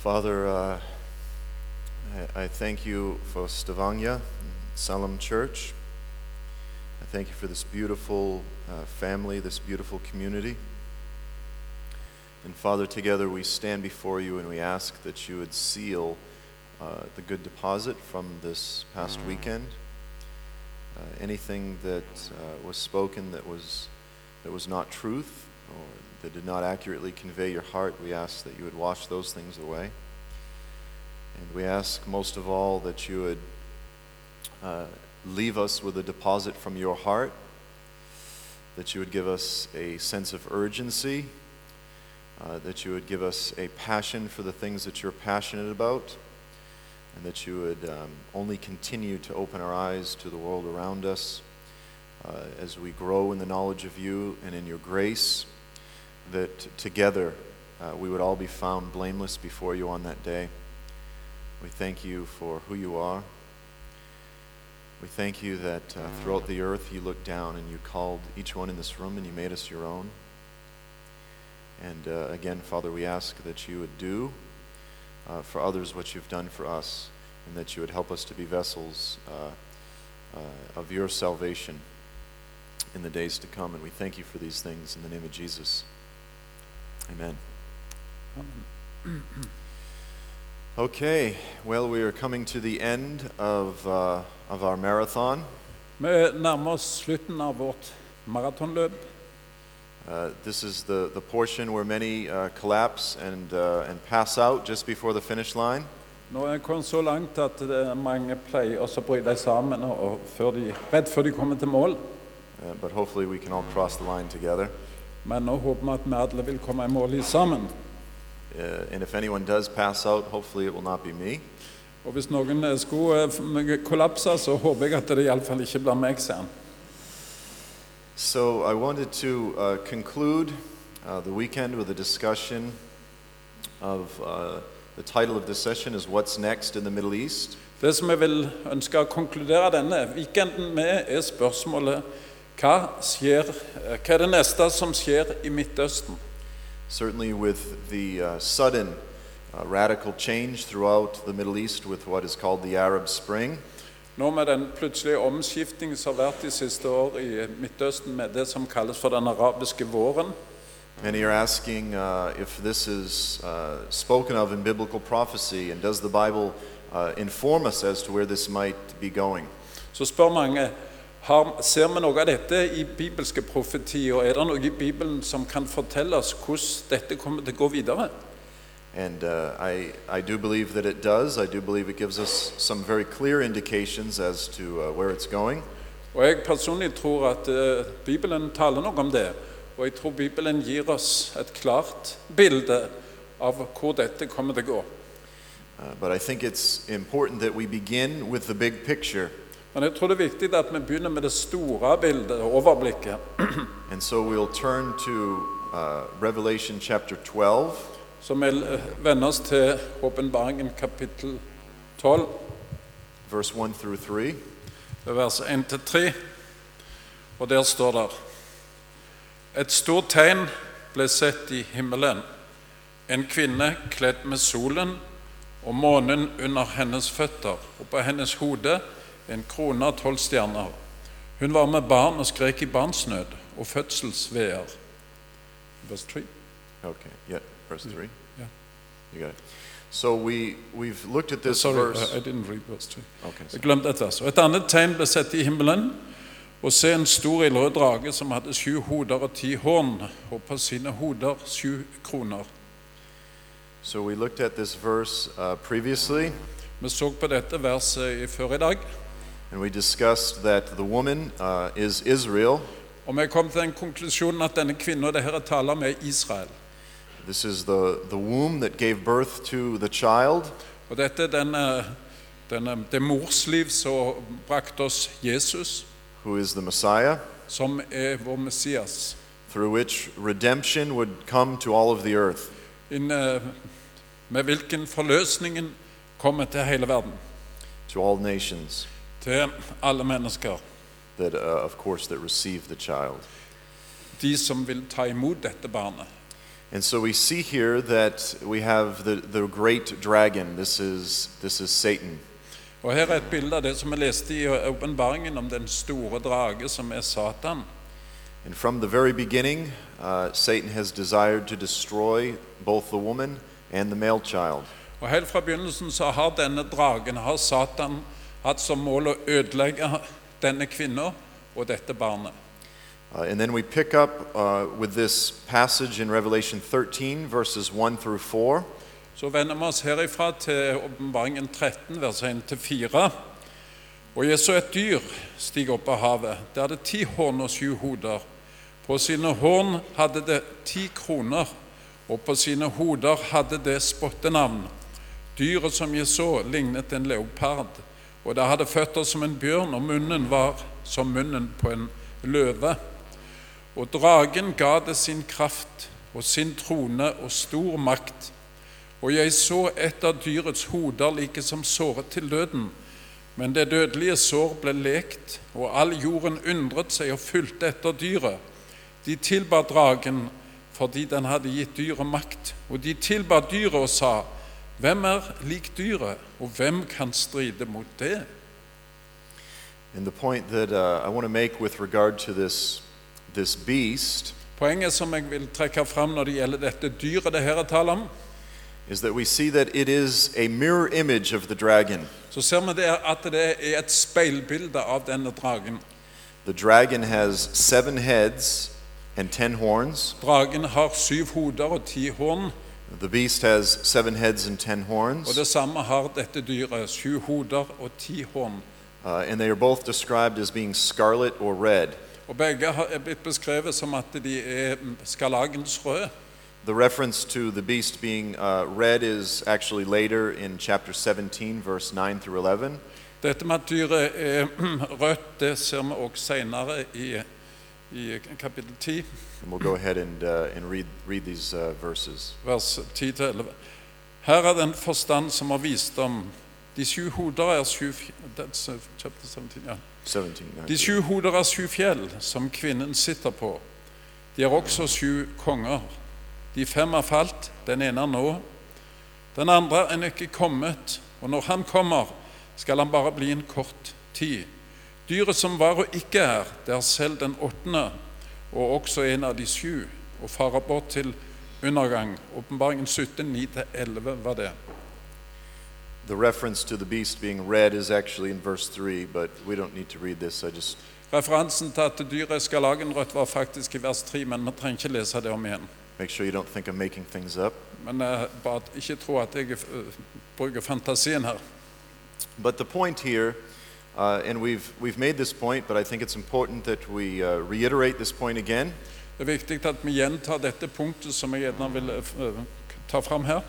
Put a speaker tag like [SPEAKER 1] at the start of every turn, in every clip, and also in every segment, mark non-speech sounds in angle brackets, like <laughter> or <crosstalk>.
[SPEAKER 1] Father, uh, I, I thank you for Stavanger, Salem Church. I thank you for this beautiful uh, family, this beautiful community. And Father, together we stand before you and we ask that you would seal uh, the good deposit from this past weekend. Uh, anything that uh, was spoken that was, that was not truth or that did not accurately convey your heart, we ask that you would wash those things away. And we ask most of all that you would uh, leave us with a deposit from your heart, that you would give us a sense of urgency, uh, that you would give us a passion for the things that you're passionate about, and that you would um, only continue to open our eyes to the world around us uh, as we grow in the knowledge of you and in your grace, that together uh, we would all be found blameless before you on that day. We thank you for who you are. We thank you that uh, throughout the earth you looked down and you called each one in this room and you made us your own. And uh, again, Father, we ask that you would do uh, for others what you've done for us and that you would help us to be vessels uh, uh, of your salvation in the days to come. And we thank you for these things in the name of Jesus. Amen. <clears throat> Okay, well, we are coming to the end of, uh, of our marathon.
[SPEAKER 2] Vi nærmer oss slutten av vårt maratonløp.
[SPEAKER 1] Uh, this is the, the portion where many uh, collapse and, uh, and pass out just before the finish line.
[SPEAKER 2] Nå er jeg kommet så langt at det er mange pleier også å bryte sammen og- og før de, rett før de kommer til mål.
[SPEAKER 1] Uh, but hopefully, we can all cross the line together.
[SPEAKER 2] Men nå håper vi at vi alle vil komme i mål i sammen.
[SPEAKER 1] Uh, and if anyone does pass out, hopefully it will not be me.
[SPEAKER 2] Og hvis noen eh, skulle eh, f- m- kollapse, så håper jeg at det iallfall ikke blir meg, sier han.
[SPEAKER 1] So, I wanted to uh, conclude uh, the weekend with a discussion of uh, the title of this session is What's Next in the Middle East?
[SPEAKER 2] Det som jeg vil ønske å konkludere denne weekenden med, er spørsmålet hva, skjer, eh, hva er det neste som skjer i Midtøsten?
[SPEAKER 1] Certainly, with the uh, sudden uh, radical change throughout the Middle East with what is called the Arab Spring,
[SPEAKER 2] Nå med den plutselige omskiftningen som har vært de siste år i Midtøsten med det som kalles for den arabiske våren,
[SPEAKER 1] many are asking uh, if this is uh, spoken of in biblical prophecy and does the Bible uh, inform us as to where this might be going?
[SPEAKER 2] så spør mange har, ser vi noe av dette i bibelske profetier, og er det noe i Bibelen som kan fortelle oss hvordan dette kommer til å gå videre?
[SPEAKER 1] And uh, I, I do believe that it does. I do believe it gives us some very clear indications as to uh, where it's going.
[SPEAKER 2] Og jeg personlig tror at eh, Bibelen taler noe om det, og jeg tror Bibelen gir oss et klart bilde av hvor dette kommer til å gå.
[SPEAKER 1] Uh, but I think it's important that we begin with the big picture.
[SPEAKER 2] Men jeg tror det er viktig at vi begynner med det store bildet og overblikket.
[SPEAKER 1] And so we'll turn to uh, Revelation chapter 12.
[SPEAKER 2] Så vi eh, vender oss til åpenbaringen kapittel 12,
[SPEAKER 1] verse 1 through 3.
[SPEAKER 2] vers 1-3, og der står det Et stort tegn ble sett i himmelen. En kvinne kledd med solen og månen under hennes føtter, og på hennes hode en krone av tolv stjerner. Hun var med barn og skrek i barnsnød og fødselsveer. Vers 3.
[SPEAKER 1] Okay, yeah, verse 3.
[SPEAKER 2] yeah.
[SPEAKER 1] You got it. So we, we've looked at this
[SPEAKER 2] Sorry, uh,
[SPEAKER 1] verse.
[SPEAKER 2] I- I didn't read verse 2.
[SPEAKER 1] okay, so-
[SPEAKER 2] Jeg glemte et vers. Og Et annet tegn ble sett i himmelen. Og se en stor ildrød drage som hadde sju hoder og ti horn, og på sine hoder sju kroner.
[SPEAKER 1] so we looked at this verse uh, previously,
[SPEAKER 2] Vi så på dette verset i før i dag,
[SPEAKER 1] and we discussed that the woman uh, is Israel.
[SPEAKER 2] og vi kom til den konklusjonen at denne kvinnen det her er tale om, er Israel.
[SPEAKER 1] This is the, the womb that gave birth to the child.
[SPEAKER 2] Og dette er denne, denne, eh, det morsliv som brakte oss Jesus,
[SPEAKER 1] Who is the Messiah,
[SPEAKER 2] som er vår Messias.
[SPEAKER 1] through which redemption would come to all of the earth.
[SPEAKER 2] Inne, eh, med hvilken forløsningen kommer til hele verden,
[SPEAKER 1] To all nations
[SPEAKER 2] til alle mennesker.
[SPEAKER 1] that, uh, of course, that receive the child.
[SPEAKER 2] de som vil ta imot dette barnet.
[SPEAKER 1] And so we see here that we have the, the great dragon. This is, this is Satan.
[SPEAKER 2] Og her er et bilde av det som vi leste i åpenbaringen om den store drage som er Satan.
[SPEAKER 1] And from the very beginning, uh, Satan has desired to destroy both the woman and the male child.
[SPEAKER 2] Og helt fra begynnelsen så har denne dragen, har Satan, hatt som mål å ødelegge denne kvinna og dette barnet.
[SPEAKER 1] Uh, and then we pick up uh, with this passage in Revelation 13, verses 1 through 4.
[SPEAKER 2] Så vender vi oss herifra til åpenbaringen 13, vers 1-4. Og jeg så et dyr stige opp av havet. Det hadde ti horn og sju hoder. På sine horn hadde det ti kroner, og på sine hoder hadde det spottenavn. Dyret som jeg så, lignet en leopard, og det hadde føtter som en bjørn, og munnen var som munnen på en løve. Og dragen ga det sin kraft og sin trone og stor makt. Og jeg så et av dyrets hoder like som såret til døden. Men det dødelige sår ble lekt, og all jorden undret seg og fulgte etter dyret. De tilba dragen fordi den hadde gitt dyret makt, og de tilba dyret og sa:" Hvem er lik dyret, og hvem kan stride mot det?
[SPEAKER 1] And the point that uh, I want to make with regard to this, this beast
[SPEAKER 2] Poenget som jeg vil trekke fram når det gjelder dette dyret det her er tale om,
[SPEAKER 1] is that we see that it is a mirror image of the dragon.
[SPEAKER 2] så ser vi der at det er et speilbilde av denne dragen.
[SPEAKER 1] The dragon has seven heads and ten horns.
[SPEAKER 2] Dragen har syv hoder og ti horn,
[SPEAKER 1] The beast has seven heads and ten
[SPEAKER 2] og
[SPEAKER 1] horns.
[SPEAKER 2] det samme har dette dyret. Sju hoder og ti horn.
[SPEAKER 1] Uh, and they are both described as being scarlet or red.
[SPEAKER 2] Og begge har- er blitt beskrevet som at de er skarlagensrøde.
[SPEAKER 1] The reference to the beast being uh, red is actually later in chapter 17, verse 9 through 11.
[SPEAKER 2] Dette med at dyret er <clears throat> rødt, det ser vi også senere i, i kapittel 10,
[SPEAKER 1] And we'll go ahead and, uh, and read, read these uh, verses.
[SPEAKER 2] vers 10-11. Her er den forstand som har visdom. De sju hoder er sju fj- that's, uh, chapter 17, ja.
[SPEAKER 1] 17, 9.
[SPEAKER 2] De sju hoder er sju fjell som kvinnen sitter på. De er også sju konger. De fem er falt, den ene er nå. Den andre er ikke kommet, og når han kommer, skal han bare bli en kort tid. Dyret som var og ikke er, det er selv den åttende, og også en av de sju, og farer bort til undergang. Åpenbaringen 17, 9-11 var det.
[SPEAKER 1] The reference to the beast being red is actually in verse 3, but we don't need to read this. I just
[SPEAKER 2] Referansen til at dyret skal lage en rødt var faktisk i vers 3, men vi trenger ikke lese det om igjen.
[SPEAKER 1] make sure you don't think I'm making things up.
[SPEAKER 2] Men eh, bare at- ikke tro at jeg eh, bruker fantasien her.
[SPEAKER 1] But the point here, uh, and we've, we've made this point, but I think it's important that we uh, reiterate this point again.
[SPEAKER 2] Det er viktig at vi gjentar dette punktet som jeg gjerne vil eh, ta fram her.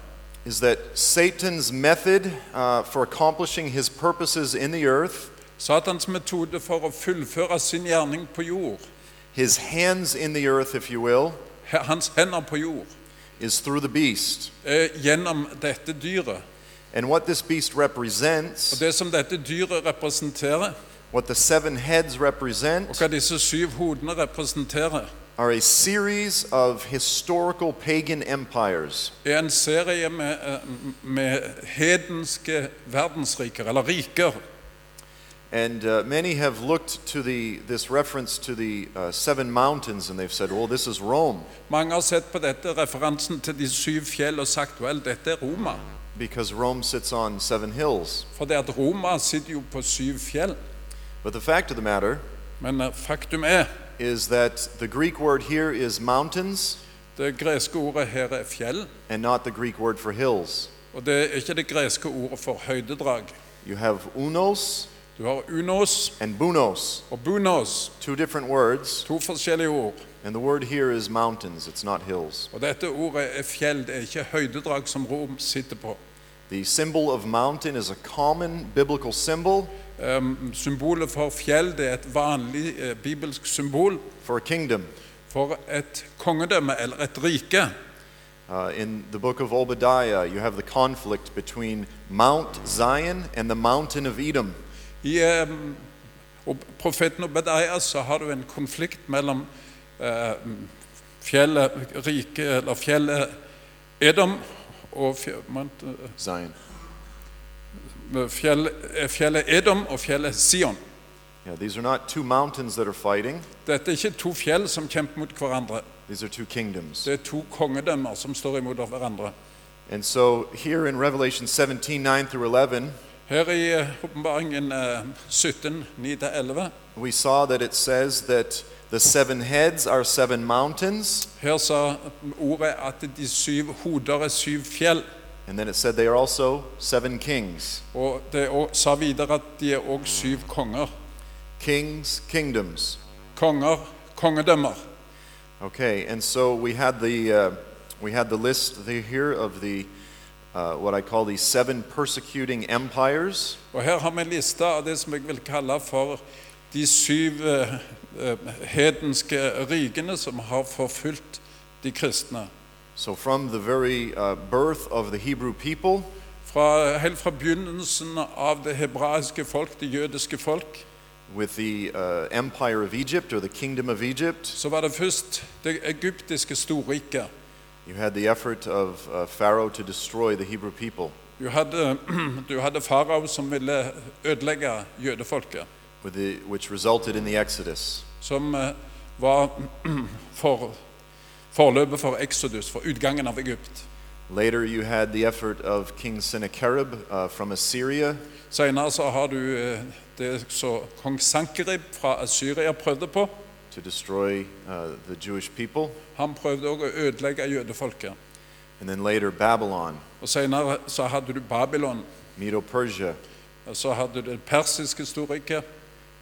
[SPEAKER 1] is that Satan's method uh, for accomplishing his purposes in the earth,
[SPEAKER 2] Satans metode for å fullføre sin gjerning på jord,
[SPEAKER 1] his hands in the earth, if you will,
[SPEAKER 2] he- hans hender på jord,
[SPEAKER 1] is through the beast.
[SPEAKER 2] eh, gjennom dette dyret.
[SPEAKER 1] And what this beast
[SPEAKER 2] Og
[SPEAKER 1] represents,
[SPEAKER 2] det som dette dyret representerer,
[SPEAKER 1] what the seven heads
[SPEAKER 2] og
[SPEAKER 1] represent,
[SPEAKER 2] hva disse syv hodene representerer,
[SPEAKER 1] are a series of historical pagan empires.
[SPEAKER 2] er en serie med, eh, med hedenske verdensriker, eller riker.
[SPEAKER 1] And uh, many have looked to the, this reference to the uh, seven mountains and they've said, well, this is Rome,
[SPEAKER 2] Mange har sett på dette referansen til de syv fjell og sagt vel, dette er Roma.
[SPEAKER 1] because Rome sits on seven hills.
[SPEAKER 2] For det at Roma sitter jo på syv fjell.
[SPEAKER 1] But the fact of the matter
[SPEAKER 2] Men eh, faktum er,
[SPEAKER 1] is that the Greek word here is mountains.
[SPEAKER 2] det greske ordet her er fjell,
[SPEAKER 1] and not the Greek word for hills.
[SPEAKER 2] og det er ikke det greske ordet for høydedrag.
[SPEAKER 1] You have unos
[SPEAKER 2] Du har unos
[SPEAKER 1] and bunos,
[SPEAKER 2] og bunos,
[SPEAKER 1] two different words,
[SPEAKER 2] to forskjellige ord.
[SPEAKER 1] and the word here is mountains, it's not hills.
[SPEAKER 2] Og dette ordet er fjell, det er ikke høydedrag som Rom sitter på.
[SPEAKER 1] The symbol of mountain is a common biblical symbol
[SPEAKER 2] Ehm, symbolet for fjell, det er et vanlig eh, bibelsk symbol
[SPEAKER 1] for a kingdom.
[SPEAKER 2] for et kongedømme eller et rike.
[SPEAKER 1] Uh, in the book of Obadiah, you have the conflict between Mount Zion and the mountain of Edom.
[SPEAKER 2] I ehm, og profeten Obadiah så har du en konflikt mellom eh, fjellet, rike, eller fjellet Edom og fje- man- eh,
[SPEAKER 1] Zion.
[SPEAKER 2] fjell, eh, fjellet Edom og fjellet Sion.
[SPEAKER 1] Yeah, these are not two mountains that are fighting,
[SPEAKER 2] Dette er ikke to fjell som kjemper mot hverandre.
[SPEAKER 1] these are two kingdoms.
[SPEAKER 2] Det er to kongedømmer som står imot hverandre.
[SPEAKER 1] And so here in Revelation 17 9 through 11,
[SPEAKER 2] Her i eh, åpenbaringen eh, 17, 9-11,
[SPEAKER 1] we saw that it says that the seven heads are seven mountains,
[SPEAKER 2] her sa ordet at de syv hoder er syv fjell.
[SPEAKER 1] and then it said they are also seven kings.
[SPEAKER 2] Og det er også- sa videre at de er òg syv konger.
[SPEAKER 1] Kings, kingdoms.
[SPEAKER 2] Konger, kongedømmer.
[SPEAKER 1] Okay, and so we had the uh, we had the list the- here of the uh, what I call the seven persecuting empires,
[SPEAKER 2] Og her har vi en liste av det som jeg vil kalle for de syv eh, eh, hedenske rikene som har forfulgt de kristne.
[SPEAKER 1] So, from the very uh, birth of the Hebrew people
[SPEAKER 2] Fra, helt fra begynnelsen av det hebraiske folk, det jødiske folk,
[SPEAKER 1] with the uh, empire of Egypt or the kingdom of Egypt,
[SPEAKER 2] så var det først det egyptiske storriket.
[SPEAKER 1] you had the effort of uh, Pharaoh to destroy the Hebrew people.
[SPEAKER 2] Du hadde, <clears throat> du hadde farao som ville ødelegge jødefolket,
[SPEAKER 1] With the, which resulted in the Exodus.
[SPEAKER 2] som eh, var <clears throat> for, forløpet for Exodus, for utgangen av Egypt.
[SPEAKER 1] Later, you had the effort of King Sennacherib uh, from Assyria,
[SPEAKER 2] Senere så har du eh, det som kong Sankerib fra Assyria prøvde på.
[SPEAKER 1] to destroy uh, the Jewish people,
[SPEAKER 2] Han prøvde òg å ødelegge jødefolket.
[SPEAKER 1] and then later Babylon,
[SPEAKER 2] Og Senere så hadde du Babylon,
[SPEAKER 1] Medo Persia,
[SPEAKER 2] og så hadde du det persiske storriket,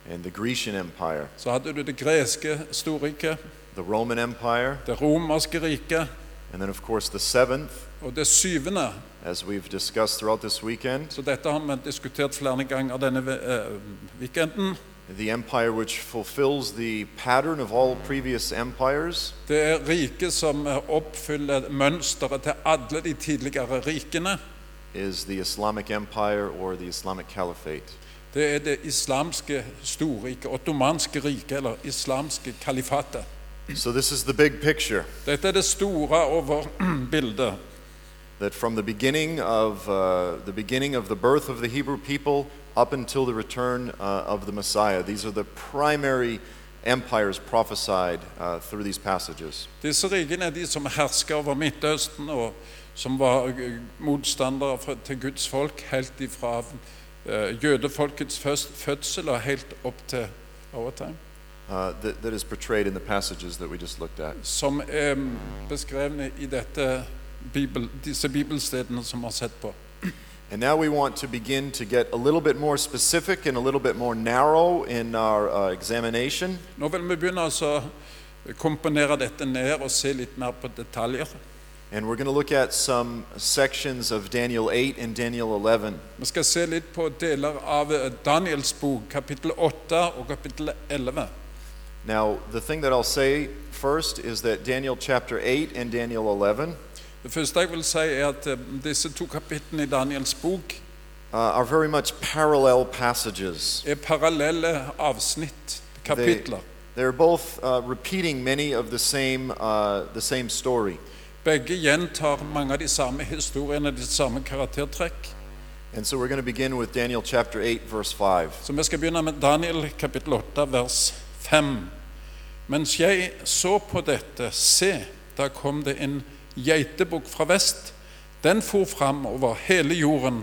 [SPEAKER 1] and the Grecian Empire,
[SPEAKER 2] så hadde du det greske storriket,
[SPEAKER 1] the Roman Empire,
[SPEAKER 2] det romerske riket,
[SPEAKER 1] and then, of course, the seventh,
[SPEAKER 2] og det syvende.
[SPEAKER 1] as we've discussed throughout this weekend.
[SPEAKER 2] Så dette har vi diskutert flere ganger denne eh, weekenden.
[SPEAKER 1] The empire which fulfills the pattern of all previous empires,
[SPEAKER 2] Det er riket som eh, oppfyller mønsteret til alle de tidligere rikene.
[SPEAKER 1] is the Islamic Empire or the Islamic Caliphate.
[SPEAKER 2] Det er det islamske storriket, ottomanske riket, eller islamske kalifatet.
[SPEAKER 1] So, this is the big picture
[SPEAKER 2] Dette er det store <clears throat> over bildet.
[SPEAKER 1] that from the beginning of, uh, the, beginning of the birth of the Hebrew people up until the return uh, of the Messiah, these are the primary empires prophesied uh, through these passages.
[SPEAKER 2] Disse rikene er de som hersker over Midtøsten, og som var eh, motstandere for- til Guds folk helt ifra eh, jødefolkets først- fødsel og helt opp til our time.
[SPEAKER 1] Uh, that, that is portrayed in the passages that we just looked at.
[SPEAKER 2] som er beskrevne i dette bibel, disse bibelstedene som vi har sett på.
[SPEAKER 1] And now we want to begin to get a little bit more specific and a little bit more narrow in our uh, examination.
[SPEAKER 2] Nå vil vi begynne altså å komponere dette ned og se litt mer på detaljer.
[SPEAKER 1] And we're going to look at some sections of Daniel 8 and Daniel 11.
[SPEAKER 2] Vi skal se litt på deler av eh, Daniels bok, kapittel 8 og kapittel 11.
[SPEAKER 1] Now, the thing that I'll say first is that Daniel chapter 8 and Daniel 11
[SPEAKER 2] Det første jeg vil si, er at eh, disse to kapitlene i Daniels bok
[SPEAKER 1] uh, are very much parallel passages.
[SPEAKER 2] er parallelle avsnitt, kapitler.
[SPEAKER 1] They're both uh, repeating many of the same, uh, the same story.
[SPEAKER 2] Begge gjentar mange av de samme historiene, de samme karaktertrekk.
[SPEAKER 1] And so we're going to begin with Daniel chapter 8, verse 5.
[SPEAKER 2] Så vi skal begynne med Daniel kapittel 8, vers 5. Mens jeg så på dette, se, da kom det en geitebukk fra vest. Den for fram over hele jorden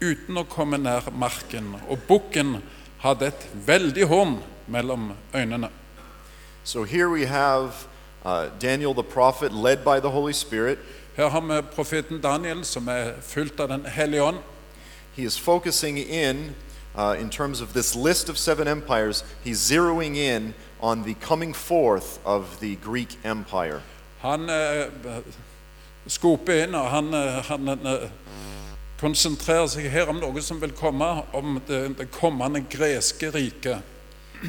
[SPEAKER 2] uten å komme nær marken, og bukken hadde et veldig horn mellom øynene.
[SPEAKER 1] So here we have uh, Daniel the prophet led by the Holy Spirit.
[SPEAKER 2] Her har vi profeten Daniel, som er fylt av Den hellige ånd.
[SPEAKER 1] He is focusing in, uh, in terms of this list of seven empires, he's zeroing in on the coming forth of the Greek Empire.
[SPEAKER 2] Han eh, skoper inn, og han, eh, han eh, konsentrerer seg her om noe som vil komme, om det, det kommende greske riket.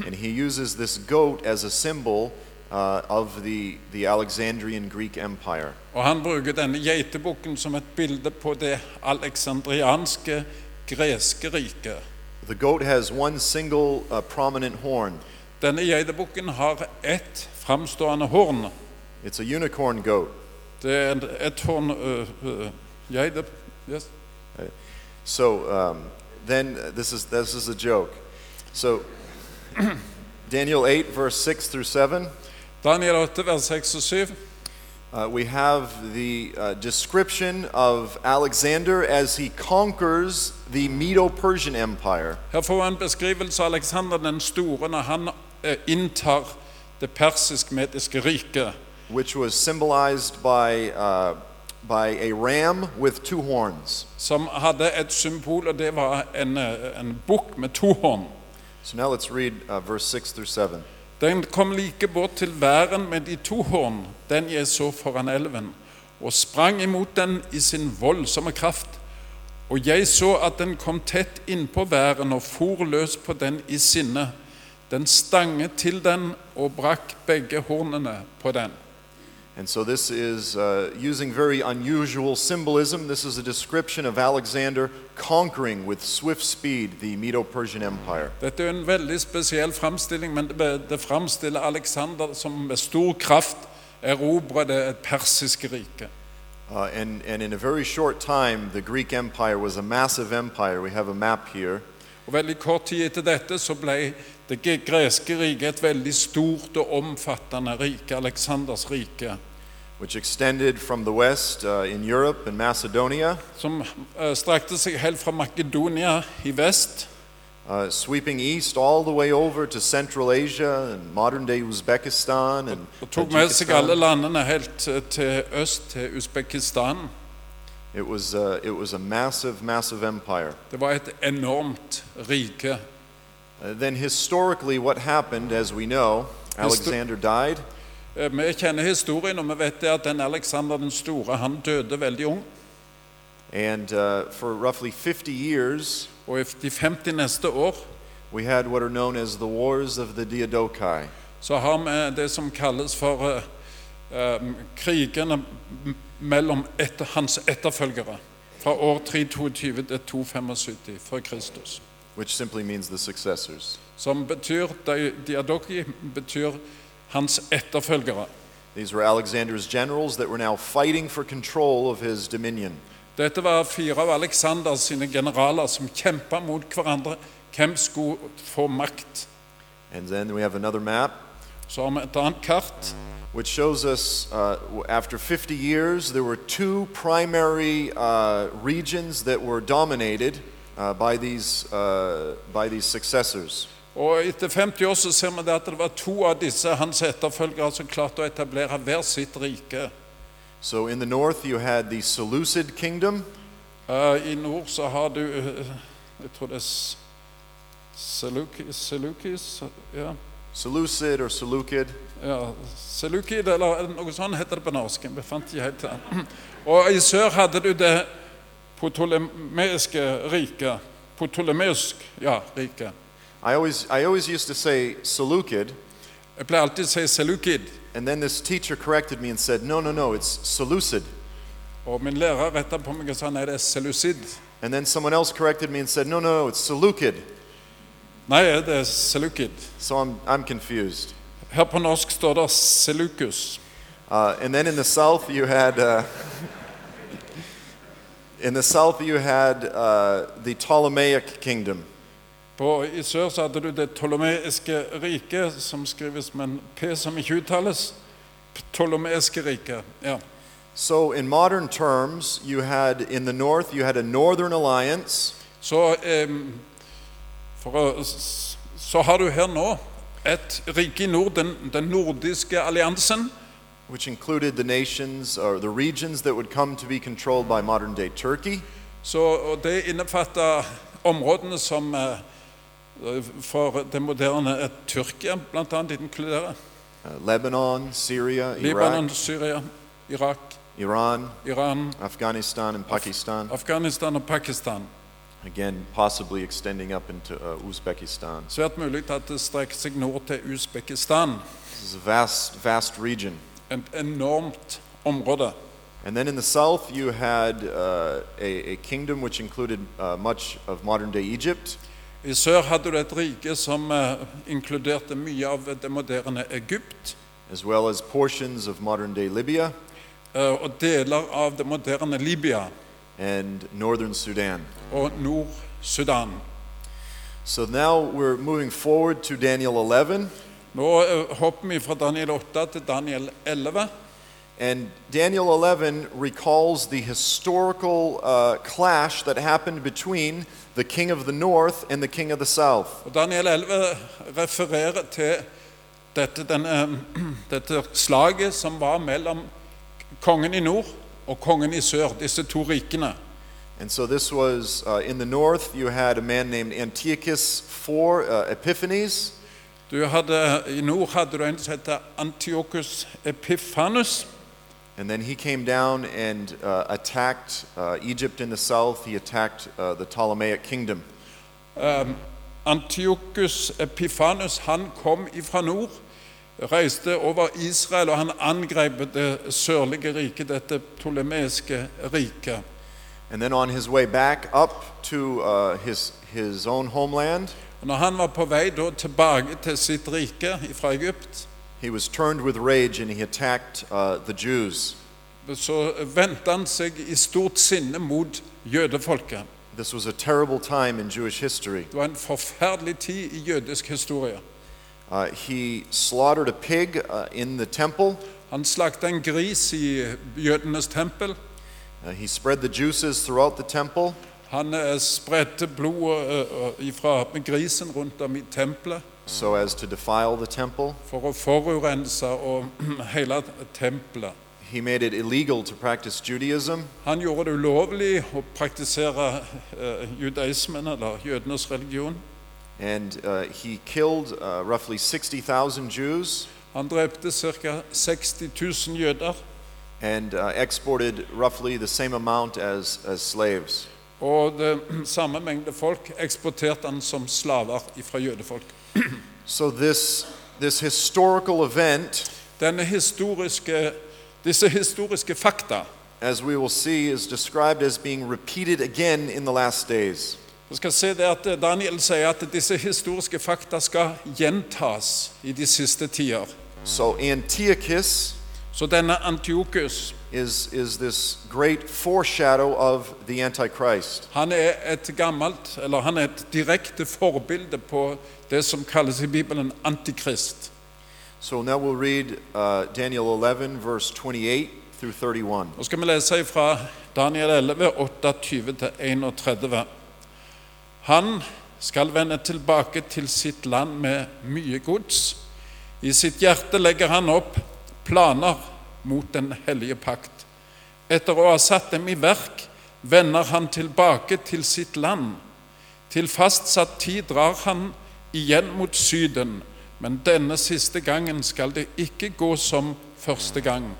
[SPEAKER 1] And he uses this goat as a symbol uh, of the, the Alexandrian Greek Empire.
[SPEAKER 2] Og han bruker denne geitebukken som et bilde på det aleksandrianske greske riket.
[SPEAKER 1] The goat has one single uh, prominent horn,
[SPEAKER 2] Denne geitebukken har ett framstående horn,
[SPEAKER 1] It's a unicorn goat.
[SPEAKER 2] Det er en- et horn øh, øh, Jeg, det yes.
[SPEAKER 1] So um, then uh, this is this is a joke. So <clears throat> Daniel 8 verse 6 through 7,
[SPEAKER 2] Daniel 8, vers 6 og 7.
[SPEAKER 1] uh, we have the uh, description of Alexander as he conquers the Medo-Persian Empire.
[SPEAKER 2] Her får vi en beskrivelse av Alexander den store når han eh, inntar det persisk-mediske riket.
[SPEAKER 1] which was symbolized by, uh, by a ram with two horns.
[SPEAKER 2] som hadde et symbol, og det var en, eh, en bukk med to horn.
[SPEAKER 1] So now let's read uh, verse 6 through 7.
[SPEAKER 2] Den kom like bort til væren med de to horn, den jeg så foran elven, og sprang imot den i sin voldsomme kraft. Og jeg så at den kom tett innpå væren og for løs på den i sinne. Den stanget til den og brakk begge hornene på den.
[SPEAKER 1] And so this is uh, using very unusual symbolism. This is a description of Alexander conquering with swift speed the Medo Persian Empire.
[SPEAKER 2] Dette er en veldig spesiell framstilling, men det be- det framstiller Alexander som med stor kraft erobrer det et persiske rike.
[SPEAKER 1] Uh, and, and in a very short time, the Greek Empire was a massive empire. We have a map here.
[SPEAKER 2] Og Veldig kort tid etter dette så ble det gre- greske riket et veldig stort og omfattende rike, Aleksanders rike,
[SPEAKER 1] Which extended from the west uh, in Europe and Macedonia,
[SPEAKER 2] som eh, strakte seg helt fra Makedonia i vest
[SPEAKER 1] uh, sweeping east all the way over to Central Asia and modern day Uzbekistan and
[SPEAKER 2] og tok med seg alle
[SPEAKER 1] Tajikistan.
[SPEAKER 2] landene helt eh, til øst, til Usbekistan.
[SPEAKER 1] It was, uh, it was a massive, massive empire.
[SPEAKER 2] Det var et enormt rike.
[SPEAKER 1] Uh, then, historically, what happened, as we know, Alexander died.
[SPEAKER 2] Eh, Vi kjenner historien, og vi vet det at den Alexander den store han døde veldig ung.
[SPEAKER 1] And uh, for roughly 50 years,
[SPEAKER 2] Og i de 50 neste år
[SPEAKER 1] we had what are known as the Wars of the Diadochi.
[SPEAKER 2] så har vi det som kalles for eh, eh, krigene m- mellom etter, hans etterfølgere. Fra år 322 til 275 før Kristus.
[SPEAKER 1] Which simply means the successors.
[SPEAKER 2] Som betyr di- Diadoki betyr hans etterfølgere.
[SPEAKER 1] These were Alexander's generals that were now fighting for control of his dominion.
[SPEAKER 2] Dette var fire av Aleksanders sine generaler som kjempa mot hverandre. Hvem skulle få makt?
[SPEAKER 1] And then we have another map
[SPEAKER 2] Så har vi et annet kart.
[SPEAKER 1] which shows us uh, w- after 50 years, there were two primary uh, regions that were dominated uh, by, these, uh, by these successors.
[SPEAKER 2] Og etter 50 år så ser vi det at det var to av disse hans etterfølgere som klarte å etablere hver sitt rike.
[SPEAKER 1] So in the north, you had the Seleucid kingdom,
[SPEAKER 2] Eh, I nord så har du eh, Jeg tror det er S- Seluki- Selukis ja.
[SPEAKER 1] Seleucid or Seleucid,
[SPEAKER 2] ja, Selukid, eller noe sånt heter det på norsk. Jeg fant ikke helt det. <clears throat> Og i sør hadde du det potolemeiske riket. Potolemeisk, ja, riket.
[SPEAKER 1] I always, I always used to say Seleucid,
[SPEAKER 2] Jeg pleier alltid å si Selukid.
[SPEAKER 1] and then this teacher corrected me and said, no, no, no, it's Seleucid.
[SPEAKER 2] Og min lærer retta på meg og sa nei, det er Selucid.
[SPEAKER 1] And then someone else corrected me and said, no, no, no, it's Seleucid.
[SPEAKER 2] Nei, det er Selukid.
[SPEAKER 1] So I'm, I'm confused.
[SPEAKER 2] Her på norsk står det Seleucus.
[SPEAKER 1] Uh, and then in the south, you had uh, <laughs> in the south you had uh, the Ptolemaic kingdom,
[SPEAKER 2] På, I sør så hadde du det ptolemeiske riket, som skrives med en P som ikke uttales. Ptolemeiske riket. Ja.
[SPEAKER 1] So in modern terms, you had in the north you had a northern alliance,
[SPEAKER 2] Så, em, for å, s- så har du her nå et rike i nord, den, den nordiske alliansen,
[SPEAKER 1] which included the nations or the regions that would come to be controlled by modern day Turkey,
[SPEAKER 2] så, og det innefatter områdene som eh, for det moderne eh, Tyrkia bl.a. inkluderer.
[SPEAKER 1] uh, Lebanon, Syria,
[SPEAKER 2] Libanon,
[SPEAKER 1] Iraq,
[SPEAKER 2] Syria, Irak,
[SPEAKER 1] Iran,
[SPEAKER 2] Iran,
[SPEAKER 1] Afghanistan, and Pakistan.
[SPEAKER 2] Afghanistan og Pakistan.
[SPEAKER 1] Again, possibly extending up into uh, Uzbekistan.
[SPEAKER 2] Svært mulig at det strekker seg nord til Usbekistan.
[SPEAKER 1] This is a vast, vast region.
[SPEAKER 2] Et enormt område.
[SPEAKER 1] And then in the south, you had uh, a, a kingdom which included uh, much of modern day Egypt,
[SPEAKER 2] I sør hadde du et rike som eh, inkluderte mye av det moderne Egypt,
[SPEAKER 1] as well as portions of modern day Libya
[SPEAKER 2] eh, og deler av det moderne Libya
[SPEAKER 1] and northern Sudan.
[SPEAKER 2] og Nord-Sudan.
[SPEAKER 1] So now we're moving forward to Daniel 11.
[SPEAKER 2] Nå eh, hopper vi fra Daniel 8 til Daniel 11.
[SPEAKER 1] And Daniel 11 recalls the historical uh, clash that happened between the king of the north and the king of the south.
[SPEAKER 2] Og Daniel 11 refererer til dette, denne, <clears throat> dette slaget som var mellom kongen i nord og kongen i sør, disse to rikene.
[SPEAKER 1] And so this was uh, in the north, you had a man named Antiochus IV uh, Epiphanes,
[SPEAKER 2] Du hadde, I nord hadde du en som het Antiochus Epiphanus.
[SPEAKER 1] and then he came down and uh, attacked uh, Egypt in the south, he attacked uh, the Ptolemaic kingdom.
[SPEAKER 2] Antiochus Epiphanus han kom fra nord, reiste over Israel, og han angrep det sørlige riket, dette ptolemeiske riket.
[SPEAKER 1] And then on his way back up to uh, his, his own homeland,
[SPEAKER 2] Og Når han var på vei da tilbake til sitt rike fra Egypt,
[SPEAKER 1] he was turned with rage and he attacked uh, the Jews.
[SPEAKER 2] så vendte han seg i stort sinne mot jødefolket.
[SPEAKER 1] This was a terrible time in Jewish history.
[SPEAKER 2] Det var en forferdelig tid i jødisk historie.
[SPEAKER 1] Uh, he slaughtered a pig uh, in the temple.
[SPEAKER 2] Han slakta en gris i jødenes tempel.
[SPEAKER 1] Uh, he spread the juices throughout the temple.
[SPEAKER 2] Han eh, spredte blodet fra grisen rundt om i tempelet
[SPEAKER 1] so as to defile the temple.
[SPEAKER 2] for å forurense og <clears throat> hele tempelet.
[SPEAKER 1] He made it illegal to practice Judaism,
[SPEAKER 2] Han gjorde det ulovlig å praktisere eh, judaismen, eller jødenes religion.
[SPEAKER 1] and uh, he killed uh, roughly 60,000 Jews
[SPEAKER 2] Han drepte ca. 60 000 jøder
[SPEAKER 1] and uh, exported roughly the same amount as, as slaves.
[SPEAKER 2] Og det <clears throat> samme mengde folk eksporterte han som slaver fra jødefolk.
[SPEAKER 1] So, this, this historical event,
[SPEAKER 2] Denne historiske, disse historiske fakta
[SPEAKER 1] as we will see, is described as being repeated again in the last days.
[SPEAKER 2] Vi skal se det at Daniel sier at disse historiske fakta skal gjentas i de siste tider.
[SPEAKER 1] So, Antiochus
[SPEAKER 2] Så denne Antiokus
[SPEAKER 1] is, is this great foreshadow of the Antichrist.
[SPEAKER 2] han er et gammelt, eller han er et direkte forbilde på det som kalles i Bibelen antikrist.
[SPEAKER 1] So now we'll read uh, Daniel 11, verse 28 through 31.
[SPEAKER 2] Nå skal vi lese fra Daniel 11, 28-31. Han skal vende tilbake til sitt land med mye gods. I sitt hjerte legger han opp planer mot den hellige pakt. Etter å ha satt dem i verk, vender han tilbake til sitt land. Til fastsatt tid drar han igjen mot Syden, men denne siste gangen skal det ikke gå som første gang.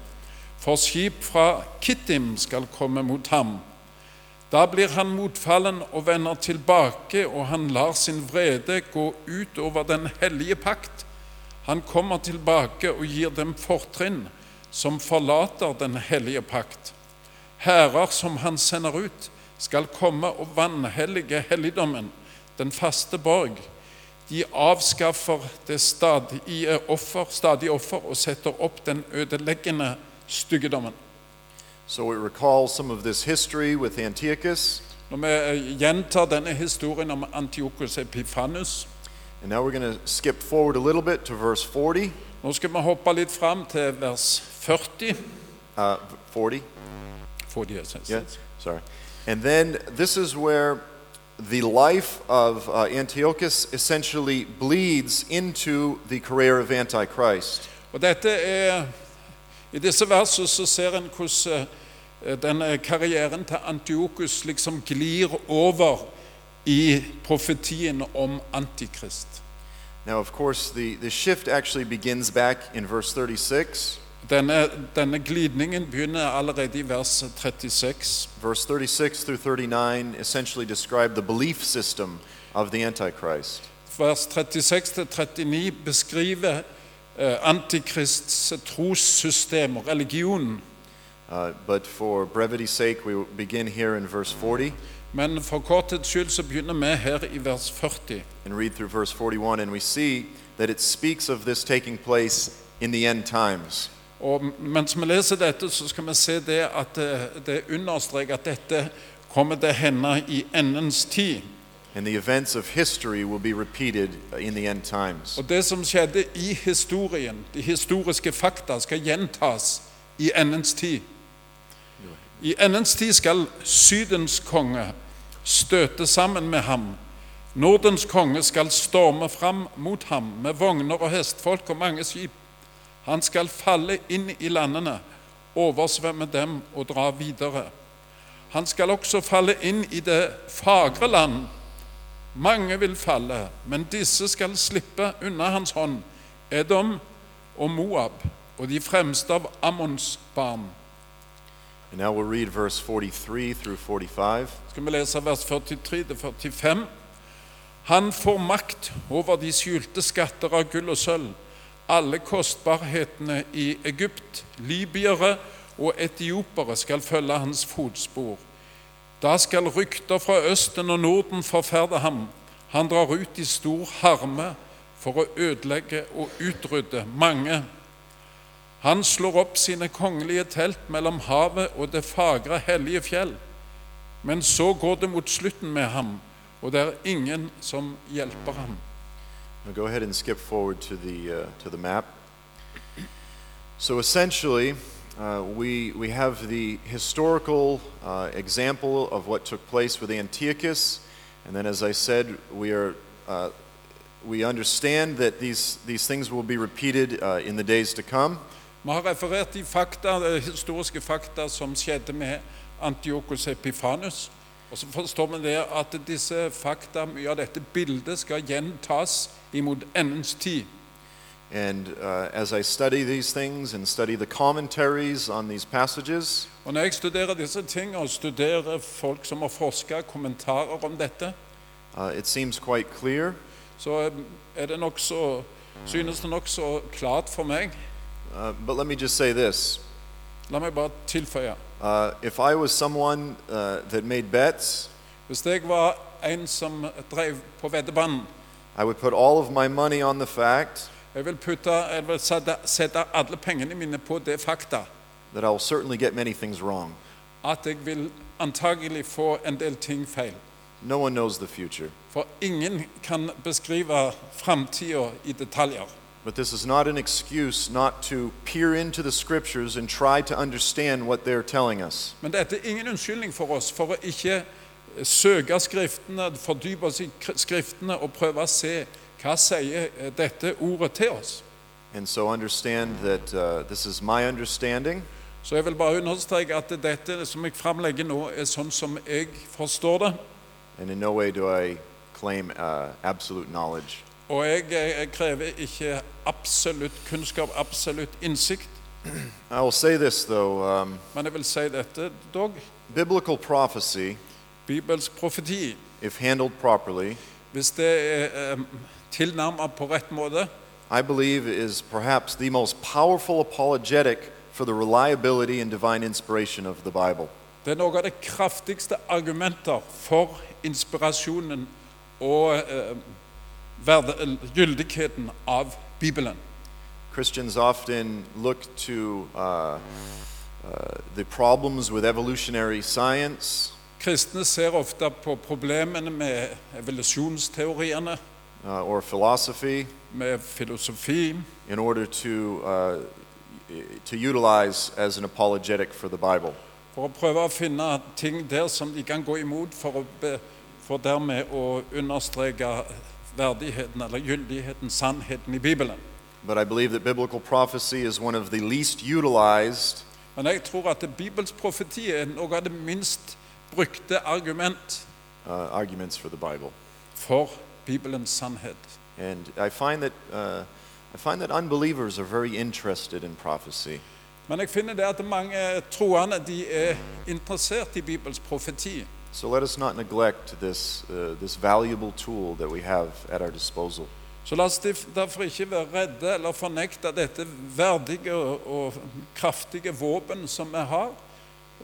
[SPEAKER 2] For skip fra Kittim skal komme mot ham. Da blir han motfallen og vender tilbake, og han lar sin vrede gå ut over den hellige pakt. Han kommer tilbake og gir dem fortrinn, som forlater den hellige pakt. Hærer som han sender ut, skal komme og vanhellige helligdommen, den faste borg. De avskaffer det stadige offer, stadig offer og setter opp den ødeleggende styggedommen.
[SPEAKER 1] So it recalls some of this history with Antiochus,
[SPEAKER 2] Når vi eh, gjentar denne historien om Antiochus Epifanus
[SPEAKER 1] and now we're going to skip forward a little bit to verse 40.
[SPEAKER 2] Nå skal vi hoppe litt fram til vers 40.
[SPEAKER 1] Uh, 40,
[SPEAKER 2] 40 jeg synes.
[SPEAKER 1] yes, sorry. And then this is where the life of uh, Antiochus essentially bleeds into the career of Antichrist.
[SPEAKER 2] Og dette er, I disse versene så ser en hvordan eh, denne karrieren til Antiokus liksom glir over i profetien om Antikrist.
[SPEAKER 1] Now, of course, the, the shift actually begins back in verse 36.
[SPEAKER 2] Denne, denne glidningen begynner allerede i vers 36.
[SPEAKER 1] Verse 36 through 39 essentially describe the belief system of the Antichrist.
[SPEAKER 2] Vers 36-39 beskriver eh, Antikrists trossystem og religion.
[SPEAKER 1] Uh, but for brevity's sake, we will begin here in verse 40
[SPEAKER 2] Men for korthets skyld så begynner vi her i vers 40.
[SPEAKER 1] and read through verse 41, and we see that it speaks of this taking place in the end times.
[SPEAKER 2] Og mens vi leser dette, så skal vi se det at eh, det, det understreker at dette kommer til å hende i endens tid.
[SPEAKER 1] And the events of history will be repeated in the end times.
[SPEAKER 2] Og det som skjedde i historien, de historiske fakta, skal gjentas i endens tid. I endens tid skal Sydens konge støte sammen med ham. Nordens konge skal storme fram mot ham med vogner og hestfolk og mange skip. Han skal falle inn i landene, oversvømme dem og dra videre. Han skal også falle inn i det fagre land. Mange vil falle, men disse skal slippe unna hans hånd, Edom og Moab og de fremste av Ammons barn.
[SPEAKER 1] And now we'll read verse 43 through 45.
[SPEAKER 2] skal vi lese vers 43-45. Han får makt over de skjulte skatter av gull og sølv, alle kostbarhetene i Egypt, libyere og etiopere skal følge hans fotspor. Da skal rykter fra Østen og Norden forferde ham. Han drar ut i stor harme for å ødelegge og utrydde mange. Han slår opp sine kongelige telt mellom havet og det fagre, hellige fjell. Men så går det mot slutten med ham, og det er ingen som hjelper ham.
[SPEAKER 1] Now go ahead and skip forward to the, uh, to the map. So essentially, uh, we, we have the historical uh, example of what took place with Antiochus. And then, as I said, we, are, uh, we understand that these, these things will be repeated uh, in the days to come.
[SPEAKER 2] Vi har referert de fakta, eh, historiske fakta som skjedde med Antiochus Epifanus. Og så forstår vi det at disse fakta, mye av dette bildet, skal gjentas imot endens tid.
[SPEAKER 1] And uh, as I study these things and study the commentaries on these passages,
[SPEAKER 2] Og når jeg studerer disse tingene, og studerer folk som har forsket kommentarer om dette,
[SPEAKER 1] uh, it seems quite clear
[SPEAKER 2] så eh, er det nok så, synes det nokså klart for meg.
[SPEAKER 1] Uh, but let me just say this.
[SPEAKER 2] La meg bare tilføye.
[SPEAKER 1] Uh, if I was someone uh, that made bets,
[SPEAKER 2] Hvis jeg var en som drev på veddebanen
[SPEAKER 1] I would put all of my money on the fact
[SPEAKER 2] Jeg vil, putte, jeg vil sette, sette alle pengene mine på det fakta
[SPEAKER 1] that I'll certainly get many things wrong.
[SPEAKER 2] at jeg vil antagelig få en del ting feil.
[SPEAKER 1] No one knows the future.
[SPEAKER 2] For ingen kan beskrive framtida i detaljer.
[SPEAKER 1] But this is not an excuse not to peer into the scriptures and try to understand what they're telling us.
[SPEAKER 2] Men dette er ingen unnskyldning for oss for å ikke søke Skriftene, fordype oss i kr- Skriftene og prøve å se hva sier eh, dette ordet til oss.
[SPEAKER 1] And so understand that uh, this is my understanding,
[SPEAKER 2] Så jeg vil bare understreke at dette som jeg framlegger nå, er sånn som jeg forstår det.
[SPEAKER 1] and in no way do I claim uh, absolute knowledge.
[SPEAKER 2] Og jeg, eh, krever ikke absolutt kunnskap, absolutt innsikt,
[SPEAKER 1] I will say this, though um,
[SPEAKER 2] men jeg vil si dette dog.
[SPEAKER 1] biblical prophecy,
[SPEAKER 2] Bibelsk profeti,
[SPEAKER 1] if handled properly,
[SPEAKER 2] hvis det er eh, tilnærmet på rett måte,
[SPEAKER 1] I believe is perhaps the most powerful apologetic for the reliability and divine inspiration of the Bible.
[SPEAKER 2] det er noe av det kraftigste argumenter for inspirasjonen og eh, verd- eller gyldigheten av Bibelen.
[SPEAKER 1] Christians often look to uh, uh, the problems with evolutionary science,
[SPEAKER 2] Kristne ser ofte på problemene med evolusjonsteoriene,
[SPEAKER 1] uh, or philosophy
[SPEAKER 2] med filosofi,
[SPEAKER 1] in order to, uh, to utilize as an apologetic for the Bible.
[SPEAKER 2] for å prøve å finne ting der som de kan gå imot, for, å be, for dermed å understreke verdigheten eller gyldigheten, sannheten i Bibelen.
[SPEAKER 1] But I believe that biblical prophecy is one of the least utilized
[SPEAKER 2] Men jeg tror at Bibels profeti er noe av det minst brukte argument
[SPEAKER 1] uh, arguments for the Bible.
[SPEAKER 2] for Bibelens sannhet.
[SPEAKER 1] And I find that, uh, I find that unbelievers are very interested in prophecy.
[SPEAKER 2] Men jeg finner det at mange troende de er interessert i Bibels profeti.
[SPEAKER 1] So let us not neglect this, uh, this valuable tool that we have at our disposal.
[SPEAKER 2] Så la oss def- derfor ikke være redde eller fornekte dette verdige og- og kraftige våpen som vi har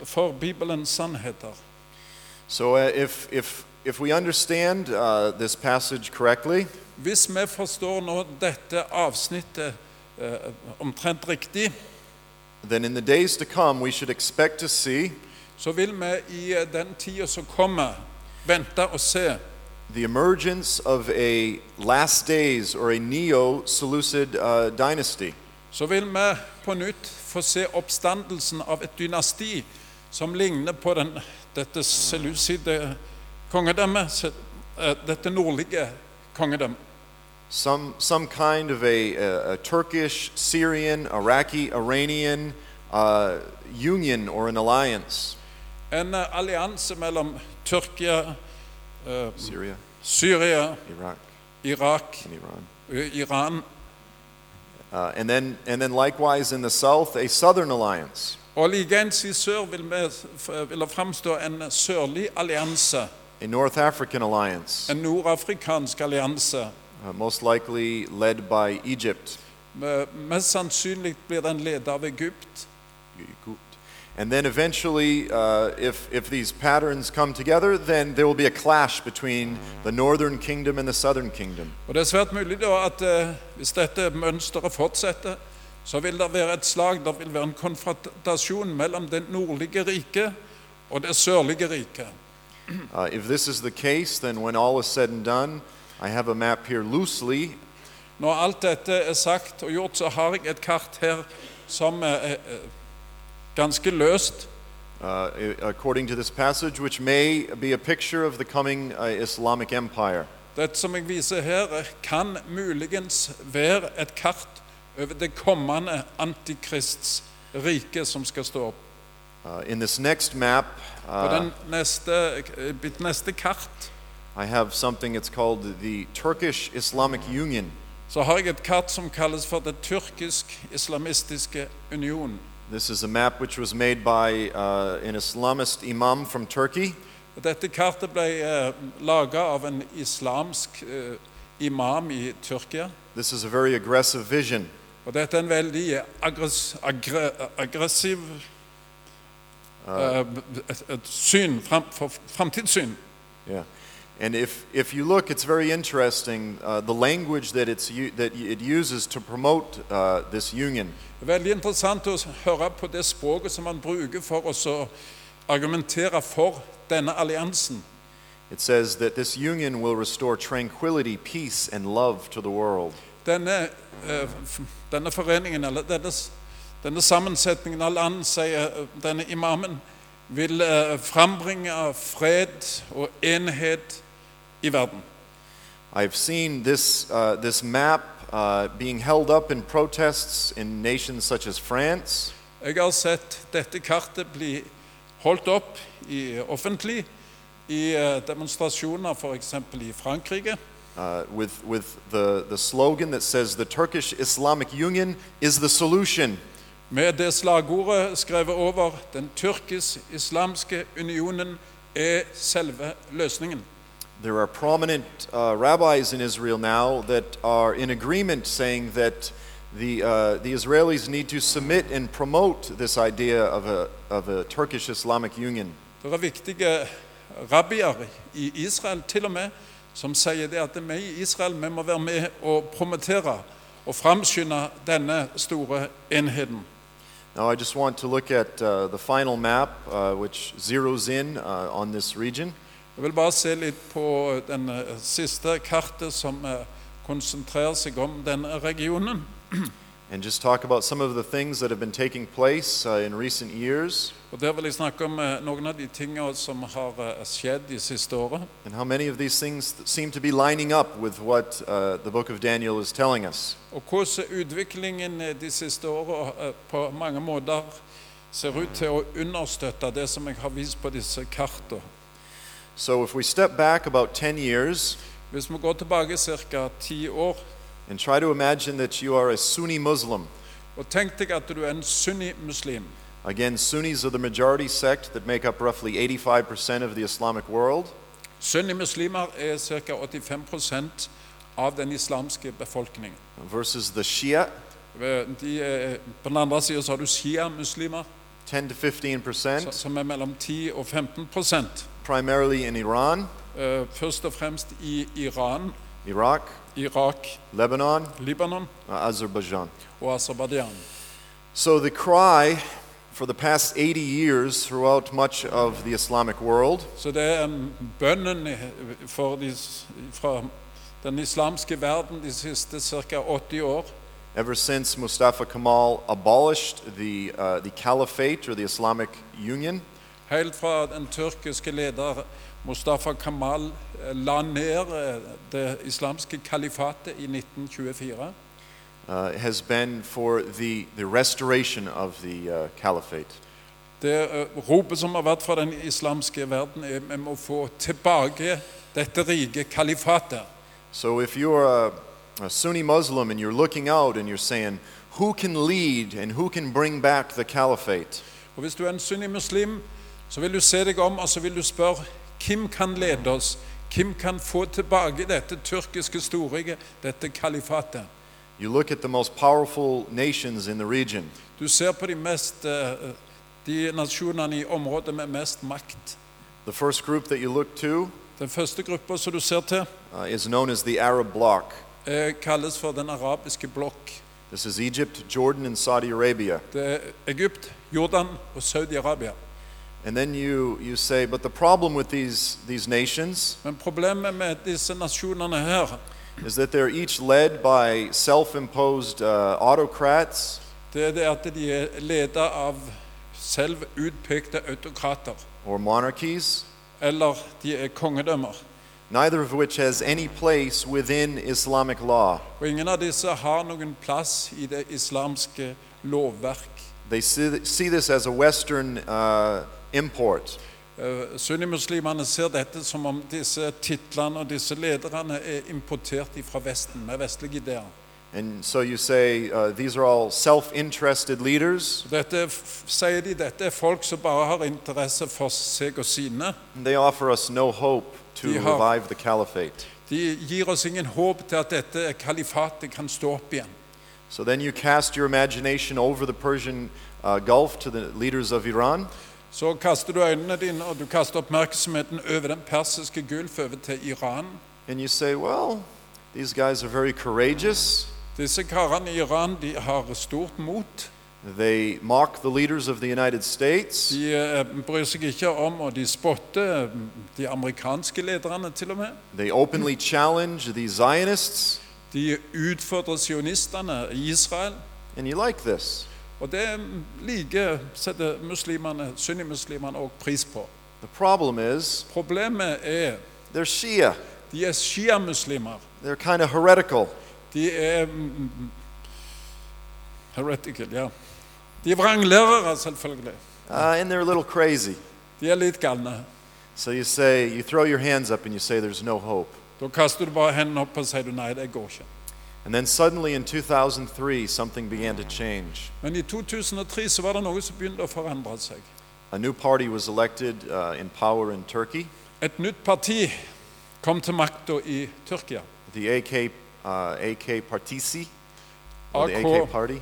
[SPEAKER 2] for Bibelens sannheter.
[SPEAKER 1] So uh, if, if, if we understand uh, this passage correctly,
[SPEAKER 2] Hvis vi forstår nå dette avsnittet eh, omtrent riktig,
[SPEAKER 1] then in the days to come we should expect to see
[SPEAKER 2] så vil vi i eh, den tida som kommer, vente og se
[SPEAKER 1] the emergence of a last days or a neo Seleucid uh, dynasty.
[SPEAKER 2] så vil vi på nytt få se oppstandelsen av et dynasti som ligner på den, dette seluside kongedømmet, se- eh, dette nordlige kongedømmet.
[SPEAKER 1] Some, some kind of a, a, a Turkish, Syrian, Iraqi, Iranian uh, union or an alliance.
[SPEAKER 2] En eh, allianse mellom Tyrkia, eh,
[SPEAKER 1] Syria,
[SPEAKER 2] Syria,
[SPEAKER 1] Iraq,
[SPEAKER 2] Irak,
[SPEAKER 1] and Iran.
[SPEAKER 2] eh, Iran.
[SPEAKER 1] Uh, and, then, and then likewise in the south, a southern alliance.
[SPEAKER 2] Og likeens i sør vil, vi, f- vil det framstå en sørlig allianse,
[SPEAKER 1] a North African alliance,
[SPEAKER 2] en nordafrikansk allianse.
[SPEAKER 1] uh, most likely led by Egypt.
[SPEAKER 2] Eh, Mest sannsynlig blir den ledet av Egypt.
[SPEAKER 1] And then eventually, uh, if, if these patterns come together, then there will be a clash between the northern kingdom and the southern kingdom.
[SPEAKER 2] Og det er svært mulig da at eh, hvis dette mønsteret fortsetter, så vil det være et slag, det vil være en konfrontasjon mellom det nordlige riket og det sørlige riket.
[SPEAKER 1] Uh, if this is the case, then when all is said and done, I have a map here loosely.
[SPEAKER 2] Når alt dette er sagt og gjort, så har jeg et kart her som er eh, ganske løst,
[SPEAKER 1] Uh, i- according to this passage, which may be a picture of the coming uh, Islamic Empire.
[SPEAKER 2] Dette som jeg viser her, kan muligens være et kart over det kommende antikrists rike som skal stå opp.
[SPEAKER 1] Uh, in this next map,
[SPEAKER 2] På
[SPEAKER 1] uh,
[SPEAKER 2] den neste, eh, mitt neste kart
[SPEAKER 1] I have something that's called the Turkish Islamic Union.
[SPEAKER 2] så har jeg et kart som kalles for Det tyrkisk-islamistiske union.
[SPEAKER 1] This is a map which was made by uh, an Islamist imam from Turkey.
[SPEAKER 2] Og Dette kartet ble eh, laga av en islamsk eh, imam i Tyrkia.
[SPEAKER 1] This is a very aggressive vision.
[SPEAKER 2] Og dette er en veldig aggress, aggre, aggressiv eh, et, et syn, fram, for, framtidssyn.
[SPEAKER 1] Yeah. And if, if you look, it's very interesting uh, the language that, it's, u- that it uses to promote uh, this union.
[SPEAKER 2] Veldig interessant å høre på det språket som man bruker for å så argumentere for denne alliansen.
[SPEAKER 1] It says that this union will restore tranquility, peace, and love to the world.
[SPEAKER 2] Denne, eh, f- denne foreningen, eller denne, s- denne sammensetningen av land, sier eh, denne imamen, vil eh, frambringe fred og enhet i verden.
[SPEAKER 1] I've seen this, uh, this map uh, being held up in protests in nations such as France.
[SPEAKER 2] Jeg har sett dette kartet bli holdt opp i, offentlig i eh, demonstrasjoner f.eks. i Frankrike.
[SPEAKER 1] uh, with, with the, the slogan that says the Turkish Islamic Union is the solution.
[SPEAKER 2] Med det slagordet skrevet over 'Den tyrkisk-islamske unionen er selve løsningen'.
[SPEAKER 1] There are prominent uh, rabbis in Israel now that are in agreement saying that the, uh, the Israelis need to submit and promote this idea of a, of a Turkish Islamic Union.
[SPEAKER 2] Det er viktige rabbier i Israel til og med som sier det at vi i Israel vi må være med og promotere og framskynde denne store enheten.
[SPEAKER 1] Now, I just want to look at uh, the final map, uh, which zeroes in uh, on this region.
[SPEAKER 2] Jeg vil bare se litt på den eh, siste kartet som eh, konsentrerer seg om denne regionen.
[SPEAKER 1] And just talk about some of the things that have been taking place uh, in recent years.
[SPEAKER 2] Og Der vil jeg snakke om eh, noen av de tingene som har eh, skjedd de siste årene.
[SPEAKER 1] And how many of these things th- seem to be lining up with what uh, the book of Daniel is telling us?
[SPEAKER 2] Og hvordan utviklingen eh, de siste årene eh, på mange måter ser ut til å understøtte det som jeg har vist på disse kartene.
[SPEAKER 1] So, if we step back about 10 years
[SPEAKER 2] Hvis vi går tilbake ca. ti år,
[SPEAKER 1] and try to imagine that you are a Sunni Muslim,
[SPEAKER 2] og tenk deg at du er en sunnimuslim.
[SPEAKER 1] again, Sunnis are the majority sect that make up roughly 85% of the Islamic world.
[SPEAKER 2] Sunnimuslimer er ca. 85 av den islamske befolkningen.
[SPEAKER 1] Versus the Shia,
[SPEAKER 2] Ved- De, er- på den andre siden så har du shia-muslimer,
[SPEAKER 1] 10 to
[SPEAKER 2] så-
[SPEAKER 1] 15%,
[SPEAKER 2] som er mellom 10 og 15
[SPEAKER 1] primarily in Iran,
[SPEAKER 2] eh, Først og fremst i Iran,
[SPEAKER 1] Iraq,
[SPEAKER 2] Irak,
[SPEAKER 1] Lebanon,
[SPEAKER 2] Libanon
[SPEAKER 1] uh, Azerbaijan.
[SPEAKER 2] og Aserbajdsjan.
[SPEAKER 1] So the cry for the past 80 years throughout much of the Islamic world
[SPEAKER 2] Så det er um, bønnen i- for de, s- fra den islamske verden de siste ca. 80 år,
[SPEAKER 1] Ever since Mustafa Kemal abolished the, uh, the caliphate or the Islamic Union,
[SPEAKER 2] helt fra den tyrkiske leder Mustafa Kamal eh, la ned eh, det islamske kalifatet i 1924,
[SPEAKER 1] uh, has been for the, the restoration of the uh, caliphate.
[SPEAKER 2] Det eh, ropet som har vært fra den islamske verden, er vi må få tilbake dette rike kalifatet.
[SPEAKER 1] So if you're a, a Sunni Muslim and you're looking out and you're saying, who can lead and who can bring back the caliphate?
[SPEAKER 2] Og Hvis du er en sunnimuslim, så vil du se deg om og så vil du spørre hvem kan lede oss? Hvem kan få tilbake dette tyrkiske storriket, dette kalifatet?
[SPEAKER 1] You look at the most powerful nations in the region
[SPEAKER 2] Du ser på de, mest, eh, de nasjonene i området med mest makt.
[SPEAKER 1] The first group that you look to
[SPEAKER 2] Den første gruppa som du ser til,
[SPEAKER 1] uh, is known as the Arab Bloc.
[SPEAKER 2] eh, kalles for den arabiske blokk.
[SPEAKER 1] This is Egypt, Jordan, and Saudi Arabia.
[SPEAKER 2] Det er Egypt, Jordan og Saudi-Arabia.
[SPEAKER 1] And then you, you say, but the problem with these, these nations
[SPEAKER 2] Men problemet med disse nasjonene her,
[SPEAKER 1] is that they're each led by self imposed uh, autocrats
[SPEAKER 2] det er det at de er ledet av selv utpekte autokrater.
[SPEAKER 1] or monarchies,
[SPEAKER 2] Eller de er kongedømmer.
[SPEAKER 1] neither of which has any place within Islamic law.
[SPEAKER 2] Og ingen av disse har noen plass i det islamske lovverk.
[SPEAKER 1] They see, see this as a Western uh, import.
[SPEAKER 2] Eh, Sunnimuslimene ser dette som om disse titlene og disse lederne er importert fra Vesten, med vestlige ideer.
[SPEAKER 1] And so you say, uh, these are all self interested leaders.
[SPEAKER 2] Dette, er f- sier de, dette er folk som bare har interesse for seg og sine.
[SPEAKER 1] They offer us no hope to
[SPEAKER 2] Yeah.
[SPEAKER 1] revive the caliphate.
[SPEAKER 2] De gir oss ingen håp til at dette kalifatet kan stå opp igjen.
[SPEAKER 1] So then you cast your imagination over the Persian uh, Gulf to the leaders of Iran.
[SPEAKER 2] Så kaster du øynene dine og du kaster oppmerksomheten over den persiske gulf over til Iran.
[SPEAKER 1] And you say, well, these guys are very courageous.
[SPEAKER 2] Disse karene i Iran de har stort mot.
[SPEAKER 1] They mock the leaders of the United States.
[SPEAKER 2] De eh, bryr seg ikke om, og de spotter eh, de amerikanske lederne til og med.
[SPEAKER 1] They openly challenge the Zionists.
[SPEAKER 2] De utfordrer sionistene i Israel.
[SPEAKER 1] And you like this.
[SPEAKER 2] Og det liker setter muslimene, sunnimuslimene også pris på.
[SPEAKER 1] The problem is
[SPEAKER 2] Problemet er
[SPEAKER 1] they're Shia.
[SPEAKER 2] de er sjiamuslimer.
[SPEAKER 1] They're kind of heretical.
[SPEAKER 2] De er mm, heretical, ja. De er vranglærere, selvfølgelig.
[SPEAKER 1] Uh, and they're a little crazy.
[SPEAKER 2] De er litt galne.
[SPEAKER 1] So you say, you throw your hands up and you say, there's no hope.
[SPEAKER 2] Da kaster du bare hendene opp og sier du nei, det går ikke.
[SPEAKER 1] And then suddenly in 2003, something began to change.
[SPEAKER 2] Men i 2003 så var det noe som begynte å forandre seg.
[SPEAKER 1] A new party was elected uh, in power in Turkey,
[SPEAKER 2] Et nytt parti kom til makta i Tyrkia.
[SPEAKER 1] the AK, uh, AK Partisi, or the AK
[SPEAKER 2] AK
[SPEAKER 1] Party,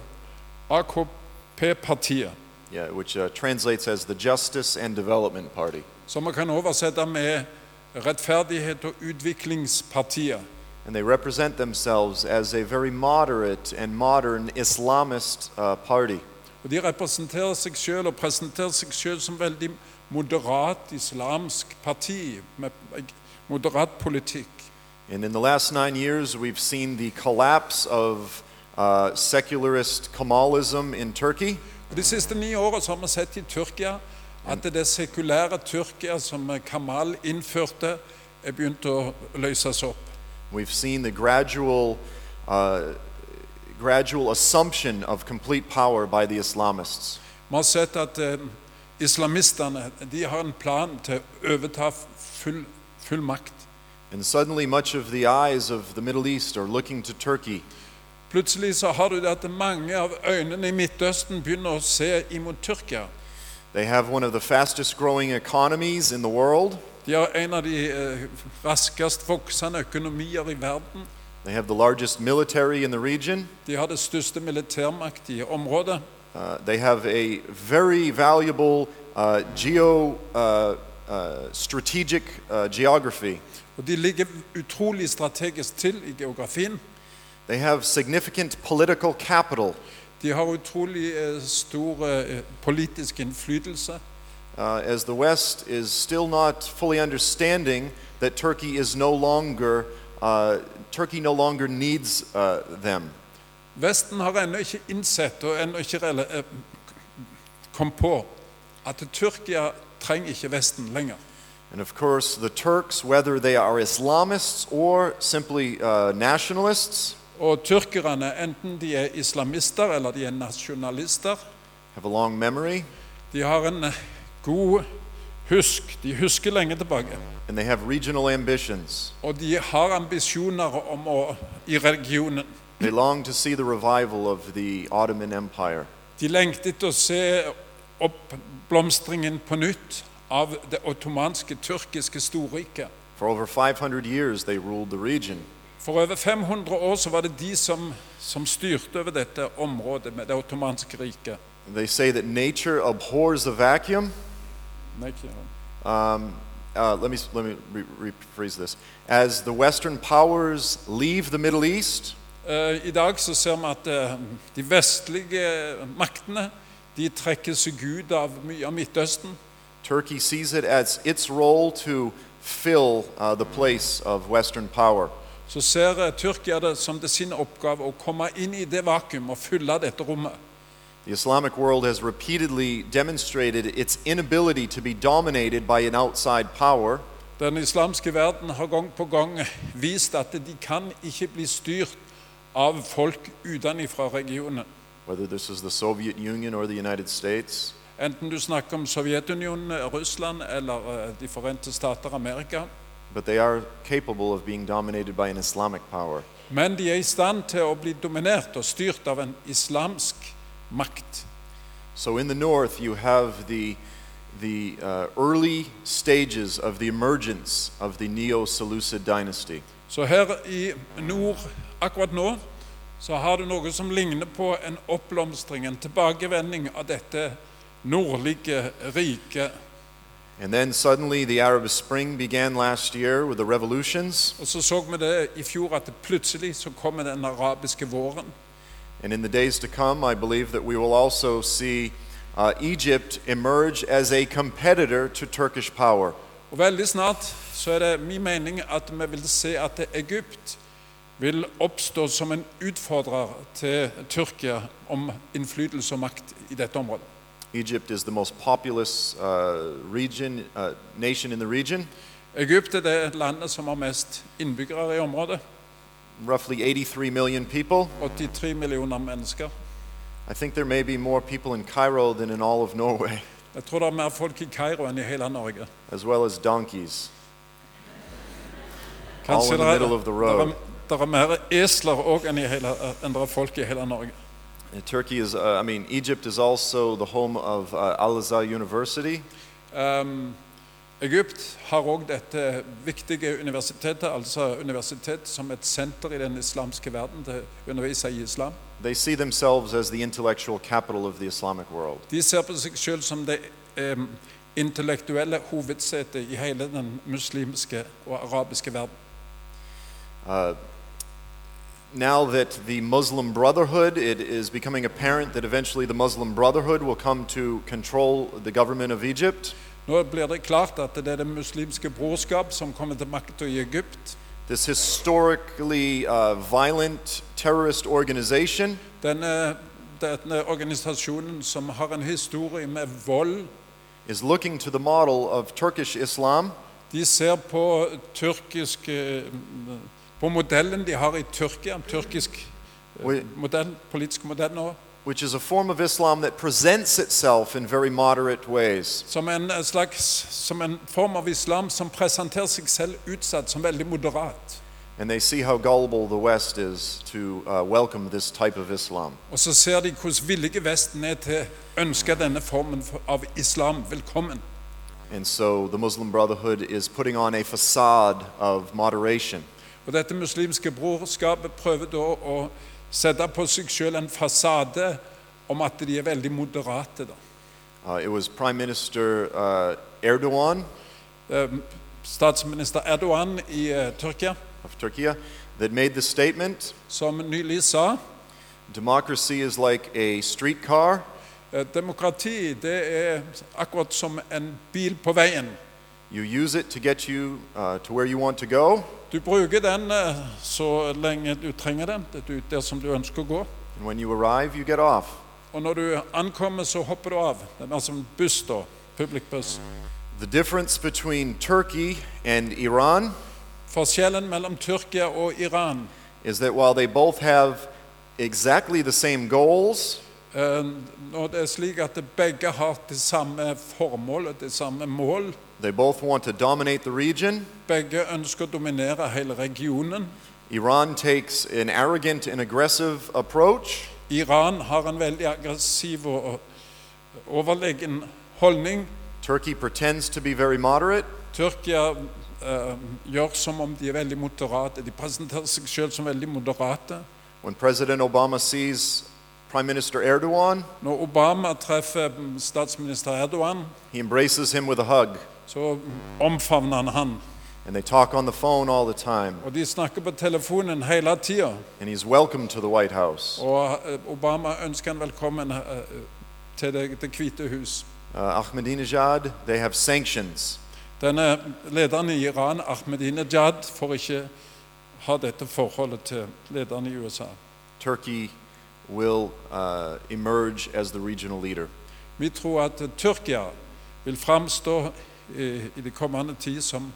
[SPEAKER 2] AKP-partiet,
[SPEAKER 1] yeah, which uh, translates as the Justice and Development Party.
[SPEAKER 2] som vi kan oversette med Rettferdighet og utviklingspartiet.
[SPEAKER 1] And they represent themselves as a very moderate and modern Islamist uh, party.
[SPEAKER 2] Og De representerer seg selv og presenterer seg selv som veldig moderat islamsk parti med moderat politikk.
[SPEAKER 1] And in the last nine years, we've seen the collapse of uh, secularist Kemalism in Turkey.
[SPEAKER 2] Og De siste ni årene så har vi sett i Tyrkia at det sekulære Tyrkia som Kamal innførte, er begynt å løses opp.
[SPEAKER 1] We've seen the gradual, uh, gradual assumption of complete power by the Islamists.
[SPEAKER 2] Vi har sett at eh, islamistene de har en plan til å overta full, full makt.
[SPEAKER 1] And suddenly, much of the eyes of the Middle East are looking to Turkey
[SPEAKER 2] Plutselig så har du det at mange av øynene i Midtøsten begynner å se imot Tyrkia.
[SPEAKER 1] They have one of the fastest growing economies in the world.
[SPEAKER 2] De har en av de eh, raskest voksende økonomier i verden.
[SPEAKER 1] They have the largest military in the region.
[SPEAKER 2] De har det største militærmakt i området.
[SPEAKER 1] Uh, they have a very valuable uh, geo uh, uh, strategic uh, geography.
[SPEAKER 2] Og de ligger utrolig strategisk til i geografien.
[SPEAKER 1] They have significant political capital.
[SPEAKER 2] De har utrolig eh, stor eh, politisk innflytelse.
[SPEAKER 1] uh, as the West is still not fully understanding that Turkey is no longer uh, Turkey no longer needs uh, them.
[SPEAKER 2] Vesten har ennå ikke innsett og ennå ikke rela- eh, kom på at Tyrkia trenger ikke Vesten lenger.
[SPEAKER 1] And of course, the Turks, whether they are Islamists or simply uh, nationalists,
[SPEAKER 2] Og tyrkerne, enten de er islamister eller de er nasjonalister,
[SPEAKER 1] have a long memory
[SPEAKER 2] de har en eh, god husk. De husker lenge tilbake.
[SPEAKER 1] and they have regional ambitions.
[SPEAKER 2] Og de har ambisjoner om å, i regionen.
[SPEAKER 1] They long to see the revival of the Ottoman Empire.
[SPEAKER 2] De lengtet etter å se oppblomstringen på nytt av det ottomanske, tyrkiske storriket.
[SPEAKER 1] For over 500 years, they ruled the region.
[SPEAKER 2] For over 500 år så var det de som, som styrte over dette området med det ottomanske riket.
[SPEAKER 1] They say that nature abhors a vacuum,
[SPEAKER 2] Nei, ikke sant?
[SPEAKER 1] um, uh, let me let me re- rephrase this. As the Western powers leave the Middle East,
[SPEAKER 2] Eh, I dag så ser vi at eh, de vestlige eh, maktene de trekker seg ut av mye av Midtøsten.
[SPEAKER 1] Turkey sees it as its role to fill uh, the place of Western power.
[SPEAKER 2] Så ser eh, Tyrkia det som det sin oppgave å komme inn i det vakuum og fylle dette rommet.
[SPEAKER 1] The Islamic world has repeatedly demonstrated its inability to be dominated by an outside power,
[SPEAKER 2] Den islamske verden har gang på gang vist at de kan ikke bli styrt av folk utenfra regionen.
[SPEAKER 1] whether this is the Soviet Union or the United States.
[SPEAKER 2] Enten du snakker om Sovjetunionen, Russland eller eh, De forente stater Amerika.
[SPEAKER 1] But they are capable of being dominated by an Islamic power.
[SPEAKER 2] Men de er i stand til å bli dominert og styrt av en islamsk makt.
[SPEAKER 1] So in the north, you have the, the uh, early stages of the emergence of the Neo Seleucid dynasty.
[SPEAKER 2] Så her i nord akkurat nå så har du noe som ligner på en oppblomstring, en tilbakevending av dette nordlige riket.
[SPEAKER 1] And then suddenly, the Arab Spring began last year with the revolutions.
[SPEAKER 2] Og så så vi det i fjor at det plutselig så kommer den arabiske våren.
[SPEAKER 1] And in the days to come, I believe that we will also see uh, Egypt emerge as a competitor to Turkish power.
[SPEAKER 2] Og veldig snart så er det min mening at vi vil se at Egypt vil oppstå som en utfordrer til Tyrkia om innflytelse og makt i dette området.
[SPEAKER 1] Egypt is the most populous uh, region, uh, nation in the region.
[SPEAKER 2] Egypt er det landet som har mest innbyggere i området.
[SPEAKER 1] Roughly 83 million people.
[SPEAKER 2] 83 millioner mennesker.
[SPEAKER 1] I think there may be more people in Cairo than in all of Norway. <laughs>
[SPEAKER 2] Jeg tror det er mer folk i Kairo enn i hele Norge.
[SPEAKER 1] as well as donkeys. All
[SPEAKER 2] Kanskje
[SPEAKER 1] in the
[SPEAKER 2] det er,
[SPEAKER 1] middle of the
[SPEAKER 2] det er,
[SPEAKER 1] road.
[SPEAKER 2] det er mer esler òg enn, i hele- enn det er folk i hele Norge.
[SPEAKER 1] And Turkey is, uh, I mean, Egypt is also the home of uh, Al Azhar University,
[SPEAKER 2] Ehm, Egypt har òg dette viktige universitetet, altså universitet som et senter i den islamske verden til å undervise i islam.
[SPEAKER 1] they see themselves as the intellectual capital of the Islamic world.
[SPEAKER 2] De ser på seg selv som det ehm, intellektuelle hovedsetet i hele den muslimske og arabiske verden.
[SPEAKER 1] Uh, now that the Muslim Brotherhood, it is becoming apparent that eventually the Muslim Brotherhood will come to control the government of Egypt.
[SPEAKER 2] Nå blir det klart at det er det muslimske brorskap som kommer til makta i Egypt.
[SPEAKER 1] This historically uh, violent terrorist organization
[SPEAKER 2] Denne, denne organisasjonen som har en historie med vold,
[SPEAKER 1] is looking to the model of Turkish Islam.
[SPEAKER 2] de ser på tyrkisk eh, På modellen de har i Tyrkia, en tyrkisk eh,
[SPEAKER 1] Oi.
[SPEAKER 2] modell, politisk modell nå,
[SPEAKER 1] which is a form of Islam that presents itself in very moderate ways.
[SPEAKER 2] som en slags Som en form av islam som presenterer seg selv utsatt som veldig moderat.
[SPEAKER 1] And they see how gullible the West is to uh, welcome this type of Islam.
[SPEAKER 2] Og så ser de hvordan villige Vesten er til å ønske denne formen for- av islam velkommen.
[SPEAKER 1] And so the Muslim Brotherhood is putting on a facade of moderation.
[SPEAKER 2] Og dette muslimske brorskapet prøver da å sette på seg selv en fasade om at de er veldig moderate. da.
[SPEAKER 1] Uh, it was Prime Minister uh, Erdogan
[SPEAKER 2] eh, statsminister Erdogan i eh, Tyrkia,
[SPEAKER 1] of Turkey that made the statement
[SPEAKER 2] som nylig sa
[SPEAKER 1] democracy is like a streetcar,
[SPEAKER 2] eh, demokrati det er akkurat som en bil på veien.
[SPEAKER 1] you use it to get you uh, to where you want to go,
[SPEAKER 2] Du bruker den eh, så lenge du trenger den, det er ut der som du ønsker å gå.
[SPEAKER 1] and when you arrive, you get off.
[SPEAKER 2] Og når du ankommer, så hopper du av. Den er som en buss, da. Public buss.
[SPEAKER 1] The difference between Turkey and Iran
[SPEAKER 2] Forskjellen mellom Tyrkia og Iran
[SPEAKER 1] is that while they both have exactly the same goals,
[SPEAKER 2] eh, Når det er slik at begge har det samme formål og det samme mål
[SPEAKER 1] they both want to dominate the region,
[SPEAKER 2] Begge ønsker å dominere hele regionen.
[SPEAKER 1] Iran takes an arrogant and aggressive approach,
[SPEAKER 2] Iran har en veldig aggressiv og overlegen holdning.
[SPEAKER 1] Turkey pretends to be very moderate,
[SPEAKER 2] Tyrkia eh, gjør som om de er veldig moderate. De presenterer seg selv som veldig moderate.
[SPEAKER 1] When President Obama sees Prime Minister Erdogan,
[SPEAKER 2] Når Obama treffer mm, statsminister Erdogan,
[SPEAKER 1] he embraces him with a hug,
[SPEAKER 2] så omfavner han han.
[SPEAKER 1] and they talk on the phone all the time,
[SPEAKER 2] Og de snakker på telefonen hele tida.
[SPEAKER 1] and he's welcome to the White House.
[SPEAKER 2] Og eh, Obama ønsker han velkommen eh, til Det, det hvite hus.
[SPEAKER 1] Uh, Ahmadinejad, they have sanctions.
[SPEAKER 2] Denne lederen i Iran, Ahmedinejad, får ikke ha dette forholdet til lederen i USA.
[SPEAKER 1] Turkey will uh, emerge as the regional leader.
[SPEAKER 2] Vi tror at Tyrkia vil framstå i, i de kommende tid som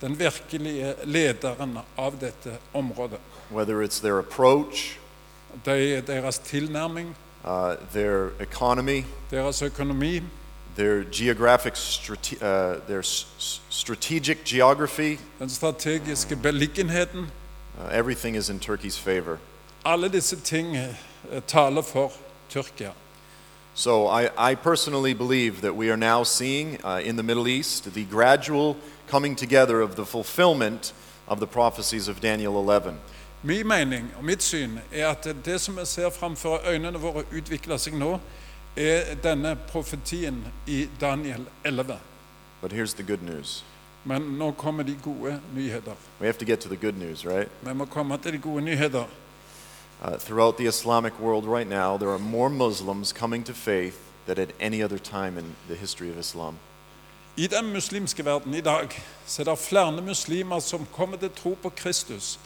[SPEAKER 2] den virkelige lederen av dette området.
[SPEAKER 1] Whether it's their approach,
[SPEAKER 2] De, deres tilnærming,
[SPEAKER 1] uh, their economy,
[SPEAKER 2] deres økonomi,
[SPEAKER 1] their geographic strate- uh, their s- s- strategic geography,
[SPEAKER 2] den strategiske beliggenheten
[SPEAKER 1] uh, everything is in Turkey's favor.
[SPEAKER 2] Alle disse ting eh, taler for Tyrkia.
[SPEAKER 1] So I, I personally believe that we are now seeing uh, in the Middle East the gradual coming together of the fulfillment of the prophecies of Daniel 11.
[SPEAKER 2] Min mening og mitt syn er at det som vi ser framfor øynene våre utvikle seg nå, er denne profetien i Daniel 11.
[SPEAKER 1] But here's the good news.
[SPEAKER 2] Men nå kommer de gode nyheter.
[SPEAKER 1] We have to get to the good news, right?
[SPEAKER 2] Vi må komme til de gode nyheter.
[SPEAKER 1] Uh, throughout the Islamic world right now, there are more Muslims coming to faith than at any other time in the history of Islam.
[SPEAKER 2] I den muslimske verden i dag så er det flere muslimer som kommer til tro på Kristus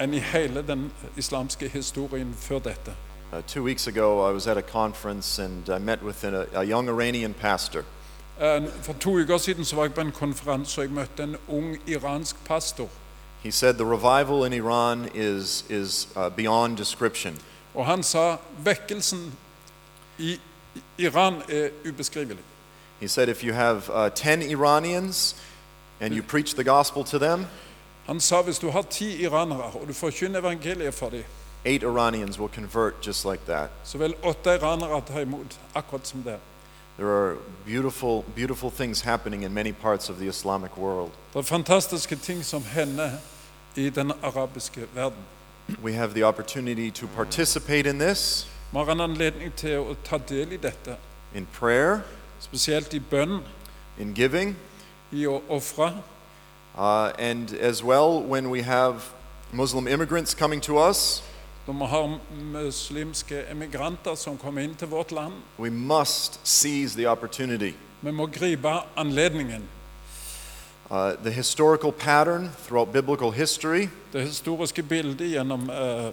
[SPEAKER 2] enn i hele den islamske historien før dette.
[SPEAKER 1] Uh, two weeks ago, I was at a conference and I met with an, a, a young Iranian pastor.
[SPEAKER 2] Eh, For to uker siden så var jeg på en konferanse og jeg møtte en ung iransk pastor.
[SPEAKER 1] He said the revival in Iran is, is uh, beyond description.
[SPEAKER 2] Og han sa vekkelsen i Iran er ubeskrivelig.
[SPEAKER 1] He said, if you have uh, 10 Iranians and you preach the gospel to them,
[SPEAKER 2] Han sa hvis du har ti iranere og du forkynner evangeliet for dem,
[SPEAKER 1] eight Iranians will convert just like that.
[SPEAKER 2] så vil åtte iranere ta imot akkurat som det.
[SPEAKER 1] There are beautiful, beautiful things happening in many parts of the Islamic world.
[SPEAKER 2] Det er fantastiske ting som hender i den arabiske verden.
[SPEAKER 1] We have the opportunity to participate in this
[SPEAKER 2] Vi har en anledning til å ta del i dette,
[SPEAKER 1] in prayer,
[SPEAKER 2] spesielt i bønn,
[SPEAKER 1] in giving,
[SPEAKER 2] i å ofre,
[SPEAKER 1] uh, and as well when we have Muslim immigrants coming to us,
[SPEAKER 2] når vi har muslimske emigranter som kommer inn til vårt land.
[SPEAKER 1] we must seize the opportunity.
[SPEAKER 2] Vi må gripe anledningen.
[SPEAKER 1] Uh, the historical pattern throughout biblical history
[SPEAKER 2] det historiske bildet gjennom eh,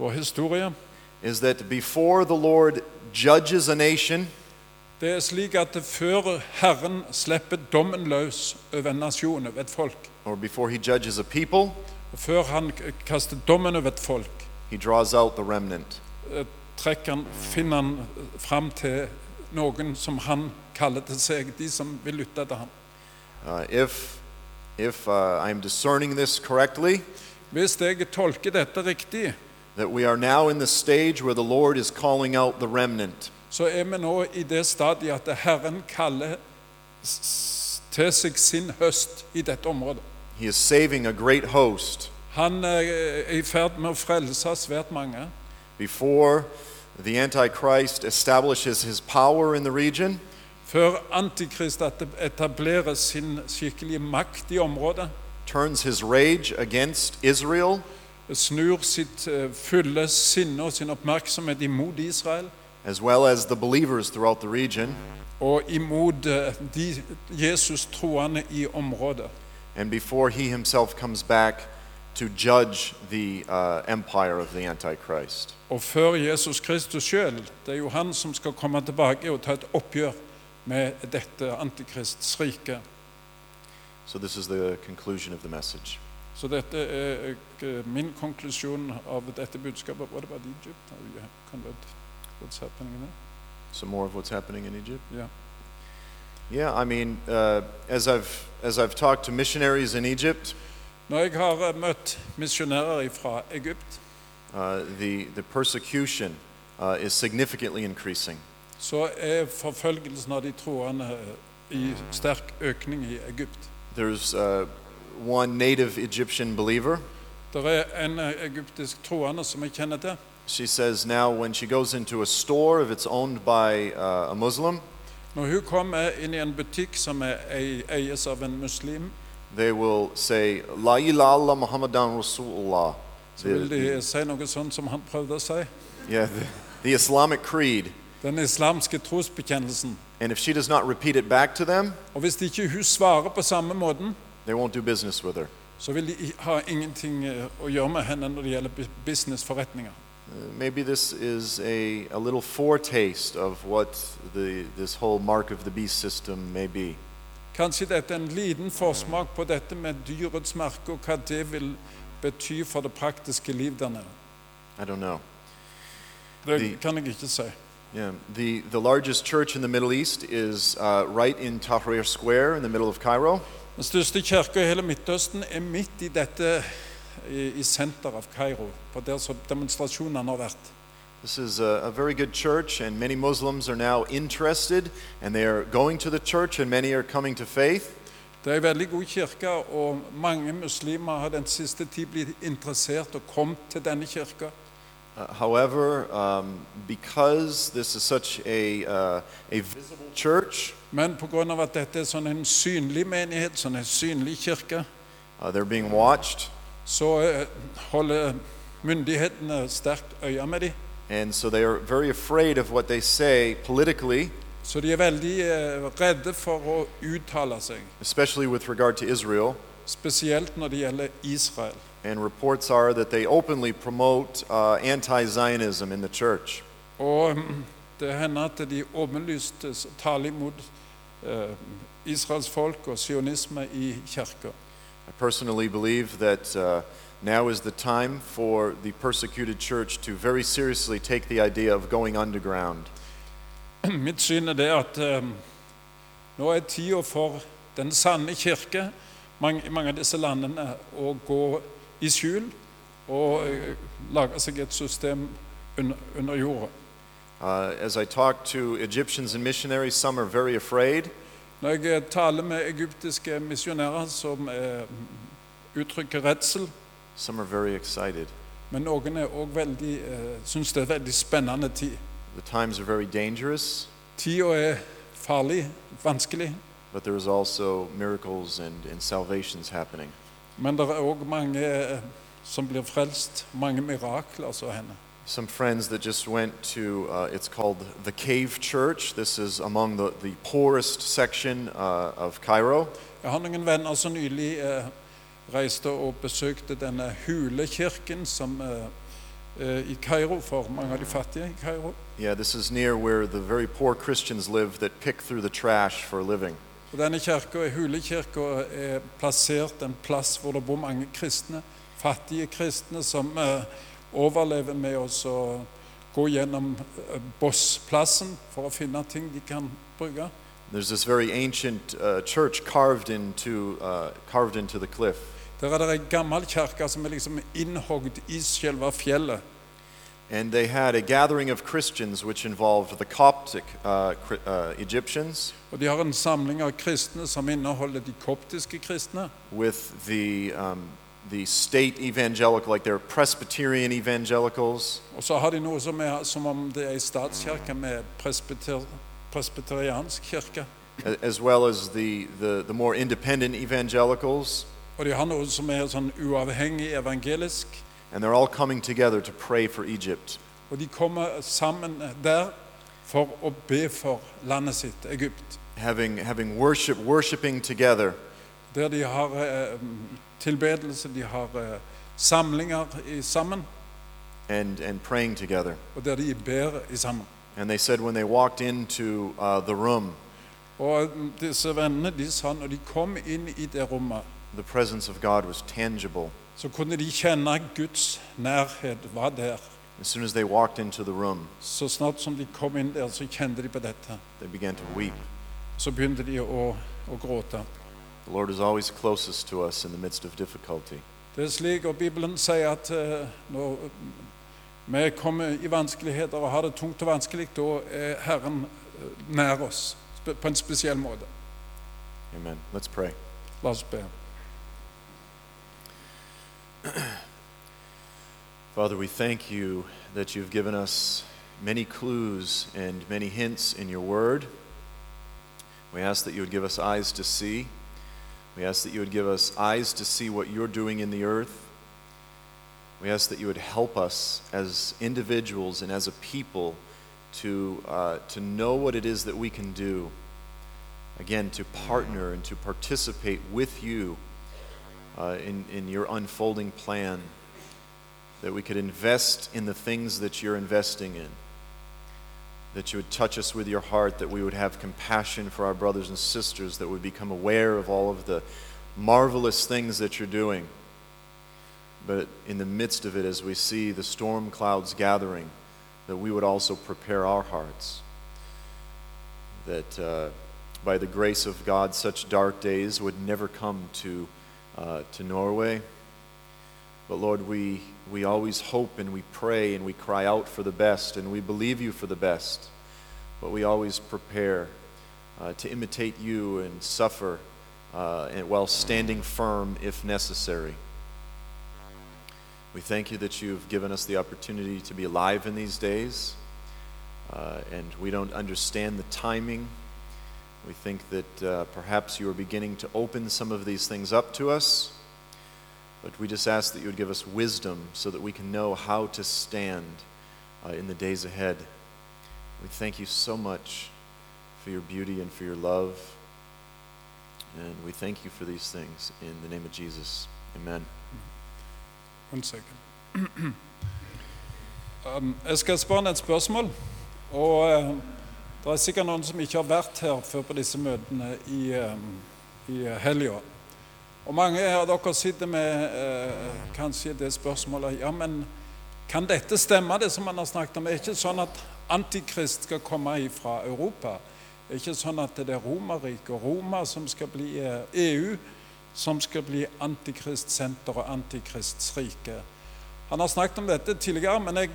[SPEAKER 2] vår historie.
[SPEAKER 1] is that before the Lord judges a nation,
[SPEAKER 2] Det er slik at før Herren slipper dommen løs over en nasjon, over et folk,
[SPEAKER 1] or before he judges a people,
[SPEAKER 2] før han k- kaster dommen over et folk,
[SPEAKER 1] he draws out the remnant.
[SPEAKER 2] eh, trekker han, finner han fram til noen som han kaller til seg, de som vil lytte til ham.
[SPEAKER 1] Uh, if if uh, I'm discerning this correctly,
[SPEAKER 2] Hvis jeg tolker dette riktig,
[SPEAKER 1] that we are now in the stage where the Lord is calling out the remnant.
[SPEAKER 2] så er vi nå i det stadiet at Herren kaller s- s- til seg sin høst i dette området.
[SPEAKER 1] He is saving a great host
[SPEAKER 2] Han eh, er i ferd med å frelse svært mange.
[SPEAKER 1] before the Antichrist establishes his power in the region.
[SPEAKER 2] før Antikrist at- etablerer sin skikkelige makt i området,
[SPEAKER 1] turns his rage against Israel,
[SPEAKER 2] snur sitt eh, fulle sinne og sin oppmerksomhet imot Israel
[SPEAKER 1] as well as the believers throughout the region.
[SPEAKER 2] og imot eh, de Jesus-troende i området.
[SPEAKER 1] And before he himself comes back to judge the uh, empire of the Antichrist.
[SPEAKER 2] Og før Jesus Kristus sjøl, det er jo han som skal komme tilbake og ta et oppgjør med dette antikrists rike.
[SPEAKER 1] So, this is the conclusion of the message.
[SPEAKER 2] Så dette er eh, min konklusjon av dette budskapet. What about Egypt? Are you convinced what's happening there?
[SPEAKER 1] Some more of what's happening in Egypt?
[SPEAKER 2] Yeah.
[SPEAKER 1] Yeah, I mean, uh, as, I've, as I've talked to missionaries in Egypt,
[SPEAKER 2] Når jeg har eh, møtt misjonærer fra Egypt,
[SPEAKER 1] uh, the, the persecution uh, is significantly increasing.
[SPEAKER 2] så er forfølgelsen av de troende eh, i sterk økning i Egypt.
[SPEAKER 1] There's uh, one native Egyptian believer.
[SPEAKER 2] Det er en eh, egyptisk troende som jeg kjenner til.
[SPEAKER 1] She says now when she goes into a store, if it's owned by uh, a Muslim,
[SPEAKER 2] Når hun kommer inn i en butikk som er ei- eies av en muslim,
[SPEAKER 1] they will say, La ilaha Muhammadan Rasulullah.
[SPEAKER 2] så vil de
[SPEAKER 1] The,
[SPEAKER 2] si noe sånn som han prøvde å si.
[SPEAKER 1] yeah, the, the Islamic creed.
[SPEAKER 2] Den islamske trosbekjennelsen.
[SPEAKER 1] And if she does not repeat it back to them,
[SPEAKER 2] Og hvis ikke hun svarer på samme måten,
[SPEAKER 1] they won't do business with her.
[SPEAKER 2] så vil de i- ha ingenting eh, å gjøre med henne når det gjelder bu- businessforretninger.
[SPEAKER 1] Uh, Maybe this is a, a little foretaste of what the, this whole mark of the beast system may be.
[SPEAKER 2] Kanskje dette er en liten forsmak på dette med dyrets merke og hva det vil bety for det praktiske liv der nede.
[SPEAKER 1] I don't know. De-
[SPEAKER 2] Det kan jeg ikke si.
[SPEAKER 1] Yeah, the, the largest church in the Middle East is uh, right in Tahrir Square in the middle of Cairo.
[SPEAKER 2] Den største kirka i hele Midtøsten er midt i dette i, i senter av Kairo, på der som demonstrasjonene har vært.
[SPEAKER 1] This is a, a very good church, and many Muslims are now interested, and they are going to the church, and many are coming to faith.
[SPEAKER 2] Det er en veldig god kirke, og mange muslimer har den siste tid blitt interessert og kommet til denne kirka.
[SPEAKER 1] Uh, however, um, because this is such a, uh, a visible church,
[SPEAKER 2] Men pga. at dette er sånn en synlig menighet, sånn en synlig kirke,
[SPEAKER 1] uh, they're being watched,
[SPEAKER 2] så eh, holder myndighetene sterkt øye med dem.
[SPEAKER 1] and so they are very afraid of what they say politically,
[SPEAKER 2] Så de er veldig eh, redde for å uttale seg,
[SPEAKER 1] especially with regard to Israel.
[SPEAKER 2] spesielt når det gjelder Israel.
[SPEAKER 1] And reports are that they openly promote uh, anti Zionism in the church.
[SPEAKER 2] Og mm, det hender at de åpenlyst eh, taler imot eh, Israels folk og sionisme i kirka.
[SPEAKER 1] I personally believe that uh, now is the time for the persecuted church to very seriously take the idea of going underground.
[SPEAKER 2] <clears throat> Mitt syn er det at eh, nå er tida for den sanne kirke mang- i mange av disse landene å gå i skjul og eh, lage seg et system under, under jorda.
[SPEAKER 1] Uh, as I talk to Egyptians and missionaries, some are very afraid.
[SPEAKER 2] Når jeg eh, taler med egyptiske misjonærer som eh, uttrykker redsel,
[SPEAKER 1] Some are very excited.
[SPEAKER 2] men noen er også veldig, eh, syns det er en veldig spennende tid.
[SPEAKER 1] The times are very dangerous,
[SPEAKER 2] Tida er farlig, vanskelig,
[SPEAKER 1] but there is also miracles and, and salvations happening.
[SPEAKER 2] men det er òg mange eh, som blir frelst. Mange mirakler, altså, henne.
[SPEAKER 1] Some friends that just went to, uh, it's called the Cave Church. This is among the, the poorest section uh, of Cairo.
[SPEAKER 2] Jeg har noen venner som nylig eh, reiste og besøkte denne hulekirken som, eh, eh, i Kairo, for mange av de fattige i Kairo.
[SPEAKER 1] Yeah, this is near where the very poor Christians live that pick through the trash for a living.
[SPEAKER 2] Og denne kirka, hulekirka eh, er plassert en plass hvor det bor mange kristne, fattige kristne, som eh, overlever med å så gå gjennom eh, bossplassen for å finne ting de kan bruke.
[SPEAKER 1] There's this very ancient uh, church carved into, uh, carved into the cliff.
[SPEAKER 2] Der er det ei gammel kirke som er liksom innhogd i selve fjellet.
[SPEAKER 1] And they had a gathering of Christians which involved the Coptic uh, Cri- uh, Egyptians
[SPEAKER 2] Og de har en samling av kristne som inneholder de koptiske kristne.
[SPEAKER 1] with the, um, the state evangelical, like they're Presbyterian evangelicals,
[SPEAKER 2] Og så har de noe som er som om det er ei statskirke med presbyter, presbyteriansk kirke.
[SPEAKER 1] a- as well as the, the, the more independent evangelicals,
[SPEAKER 2] Og de har noe som er sånn uavhengig evangelisk.
[SPEAKER 1] and they're all coming together to pray for Egypt.
[SPEAKER 2] Og de kommer sammen der for å be for landet sitt, Egypt.
[SPEAKER 1] Having, having worship, worshiping together,
[SPEAKER 2] Der de har eh, tilbedelse, de har eh, samlinger i, sammen,
[SPEAKER 1] and, and praying together.
[SPEAKER 2] og der de ber i sammen.
[SPEAKER 1] And they said when they walked into uh, the room,
[SPEAKER 2] Og mm, disse vennene de sa når de kom inn i det rommet,
[SPEAKER 1] the presence of God was tangible.
[SPEAKER 2] så kunne de kjenne Guds nærhet var der.
[SPEAKER 1] As soon as they walked into the room,
[SPEAKER 2] Så snart som de kom inn der, så kjente de på dette.
[SPEAKER 1] they began to weep.
[SPEAKER 2] Så begynte de å, å gråte.
[SPEAKER 1] The Lord is always closest to us in the midst of difficulty.
[SPEAKER 2] Det er slik, og Bibelen sier at eh, når vi kommer i vanskeligheter og har det tungt og vanskelig, da er Herren eh, nær oss spe- på en spesiell måte.
[SPEAKER 1] Amen. Let's pray.
[SPEAKER 2] La oss be.
[SPEAKER 1] Father, we thank you that you've given us many clues and many hints in your word. We ask that you would give us eyes to see. We ask that you would give us eyes to see what you're doing in the earth. We ask that you would help us as individuals and as a people to, uh, to know what it is that we can do. Again, to partner and to participate with you uh, in, in your unfolding plan that we could invest in the things that you're investing in, that you would touch us with your heart, that we would have compassion for our brothers and sisters, that we become aware of all of the marvelous things that you're doing. But in the midst of it, as we see the storm clouds gathering, that we would also prepare our hearts. That uh, by the grace of God, such dark days would never come to, uh, to Norway. But Lord, we, we always hope and we pray and we cry out for the best and we believe you for the best. But we always prepare uh, to imitate you and suffer uh, and while standing firm if necessary. We thank you that you've given us the opportunity to be alive in these days. Uh, and we don't understand the timing. We think that uh, perhaps you are beginning to open some of these things up to us. But we just ask that you would give us wisdom so that we can know how to stand uh, in the days ahead. We thank you so much for your beauty and for your love. And we thank you for these things in the name of Jesus. Amen.
[SPEAKER 2] One second. Um, Jeg skal spørre deg et spørsmål. Og eh, det er sikkert noen som ikke har vært her før på disse møtene i, eh, i helga. Og mange av dere sitter med eh, kanskje det spørsmålet Ja, men kan dette stemme, det som man har snakket om? Er ikke sånn at Antikrist skal komme fra Europa? Er ikke sånn at det er Romerriket og Roma som skal bli eh, EU, som skal bli antikristsenter og antikristsrike? Han har snakket om dette tidligere, men jeg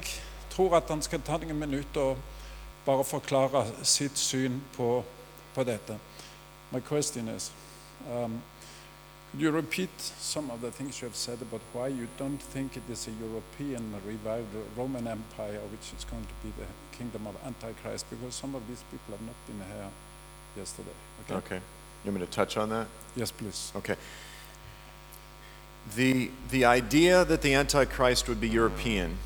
[SPEAKER 2] tror at han skal ta noen minutter og bare forklare sitt syn på, på dette. My question is, um, could you repeat some of the things you have said about why you don't think it is a European revived Roman Empire which is going to be the kingdom of Antichrist? Because some of these people have not been here yesterday. Okay?
[SPEAKER 1] Okay. You want me to touch on that?
[SPEAKER 2] Yes, please.
[SPEAKER 1] Okay. The, the idea that the Antichrist would be European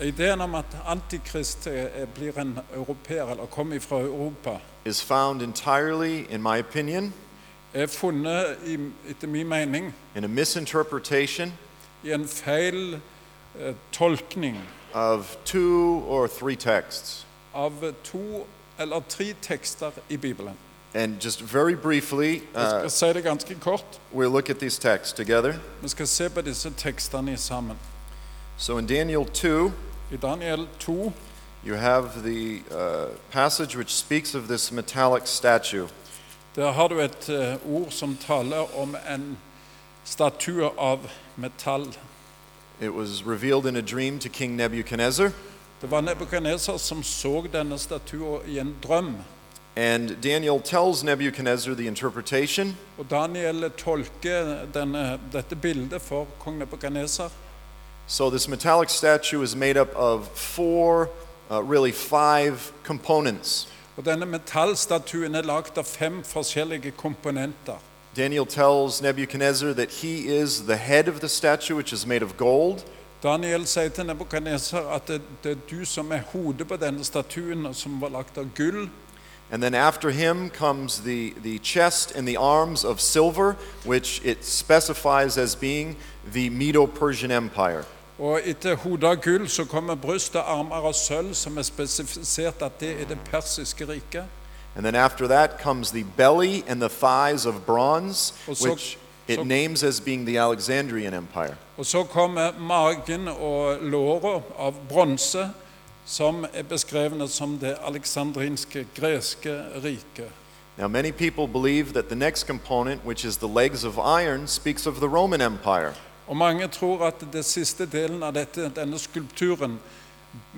[SPEAKER 2] Ideen om at antikrist eh, blir en europeer eller kommer fra Europa,
[SPEAKER 1] is found entirely, in my opinion,
[SPEAKER 2] er funnet, i, etter min mening,
[SPEAKER 1] in a misinterpretation
[SPEAKER 2] i en feil eh, tolkning
[SPEAKER 1] of two or three texts.
[SPEAKER 2] av to eller tre tekster i Bibelen.
[SPEAKER 1] And just very briefly,
[SPEAKER 2] Jeg
[SPEAKER 1] uh,
[SPEAKER 2] skal si det ganske kort.
[SPEAKER 1] we'll look at these texts together.
[SPEAKER 2] Vi skal se på disse tekstene sammen.
[SPEAKER 1] So in Daniel 2,
[SPEAKER 2] I Daniel 2
[SPEAKER 1] you have the uh, passage which speaks of this metallic statue.
[SPEAKER 2] der har du et eh, ord som taler om en statue av metall.
[SPEAKER 1] It was revealed in a dream to King Nebuchadnezzar,
[SPEAKER 2] Det var Nebukadneser som så denne statuen i en drøm.
[SPEAKER 1] and Daniel tells Nebuchadnezzar the interpretation,
[SPEAKER 2] Og Daniel tolker denne, dette bildet for kong Nebukadneser.
[SPEAKER 1] So, this metallic statue is made up of four, uh, really five components.
[SPEAKER 2] Og denne metallstatuen er lagd av fem forskjellige komponenter.
[SPEAKER 1] Daniel tells Nebuchadnezzar that he is the head of the statue, which is made of gold,
[SPEAKER 2] Daniel sier til Nebukadneser at det, det er du som er hodet på denne statuen, og som var lagd av gull.
[SPEAKER 1] and then after him comes the, the chest and the arms of silver, which it specifies as being the Medo Persian Empire.
[SPEAKER 2] Og etter hodet av gull så kommer bryst og armer av sølv, som er spesifisert at det er det persiske riket.
[SPEAKER 1] And then after that comes the belly and the thighs of bronze,
[SPEAKER 2] Well, so-
[SPEAKER 1] which it
[SPEAKER 2] so-
[SPEAKER 1] names as being the Alexandrian Empire.
[SPEAKER 2] Og så kommer magen og låra av bronse, som er beskrevne som det aleksandrinske greske riket.
[SPEAKER 1] Now, many people believe that the next component, which is the legs of iron, speaks of the Roman Empire.
[SPEAKER 2] Og mange tror at det siste delen av dette, denne skulpturen,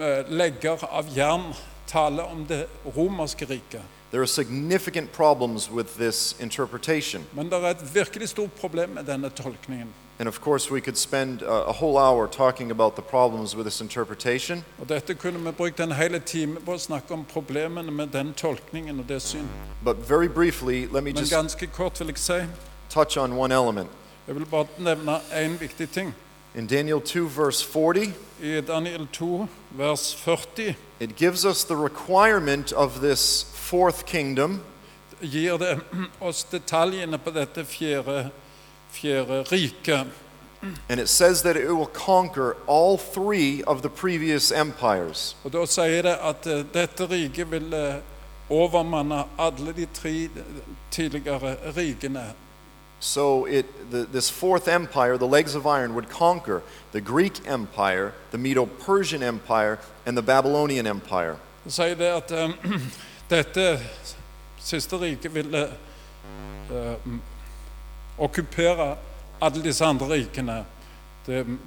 [SPEAKER 2] eh, legger av jern, taler om det romerske riket.
[SPEAKER 1] There are significant problems with this interpretation.
[SPEAKER 2] Men det er et virkelig stort problem med denne tolkningen.
[SPEAKER 1] And of course, we could spend uh, a, a whole hour talking about the problems with this interpretation,
[SPEAKER 2] Og dette kunne vi brukt en hel time på å snakke om problemene med den tolkningen og det syn.
[SPEAKER 1] but very briefly, let me
[SPEAKER 2] Men
[SPEAKER 1] just
[SPEAKER 2] ganske kort vil jeg si,
[SPEAKER 1] touch on one element.
[SPEAKER 2] jeg vil bare nevne én viktig ting.
[SPEAKER 1] In Daniel 2, verse 40,
[SPEAKER 2] I Daniel 2, vers 40,
[SPEAKER 1] it gives us the requirement of this fourth kingdom,
[SPEAKER 2] gir det <clears throat> oss detaljene på dette fjerde, fjerde riket.
[SPEAKER 1] and it says that it will conquer all three of the previous empires.
[SPEAKER 2] Og da sier det at eh, dette riket vil eh, overmanne alle de tre tidligere rikene.
[SPEAKER 1] So it, the, this fourth empire, the legs of iron, would conquer the Greek Empire, the Medo Persian Empire, and the Babylonian Empire.
[SPEAKER 2] Det sier det at eh, <clears throat> dette siste riket ville eh, m- okkupere alle disse andre rikene. Det er mm,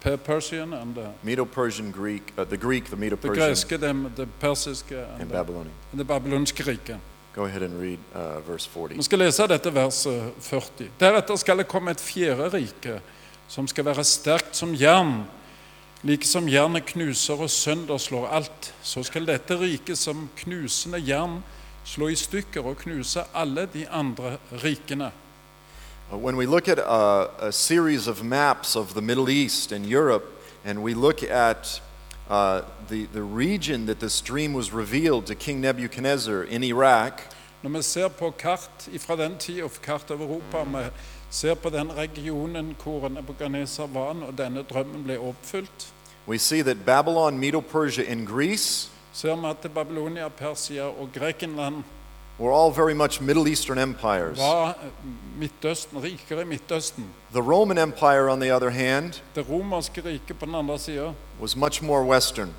[SPEAKER 2] Per Persian and the,
[SPEAKER 1] Medo Persian Greek, uh, the Greek, the Medo
[SPEAKER 2] det
[SPEAKER 1] Persian,
[SPEAKER 2] greske, det, det persiske
[SPEAKER 1] and
[SPEAKER 2] and the,
[SPEAKER 1] Babylonian.
[SPEAKER 2] and det babylonske riket.
[SPEAKER 1] Go ahead and read uh, verse 40.
[SPEAKER 2] Vi skal lese dette verset 40. Deretter skal det komme et fjerde rike, som skal være sterkt som jern, like som jernet knuser og sønderslår alt. Så skal dette riket som knusende jern slå i stykker og knuse alle de andre rikene.
[SPEAKER 1] Uh, When we look at a, a series of maps of the Middle East and Europe, and we look at uh, the, the region that this dream was revealed to King Nebuchadnezzar in Iraq,
[SPEAKER 2] Når vi ser på kart fra den tida, kart over Europa, vi ser på den regionen hvor Nebukadneser var og denne drømmen ble oppfylt,
[SPEAKER 1] we see that Babylon, Medo Persia, and Greece
[SPEAKER 2] ser vi at Babylonia, Persia og Grekenland
[SPEAKER 1] were all very much Middle Eastern empires.
[SPEAKER 2] var eh, Midtøsten, rikere i Midtøsten.
[SPEAKER 1] The Roman Empire, on the other hand,
[SPEAKER 2] Det romerske riket på den andre sida
[SPEAKER 1] was much more Western.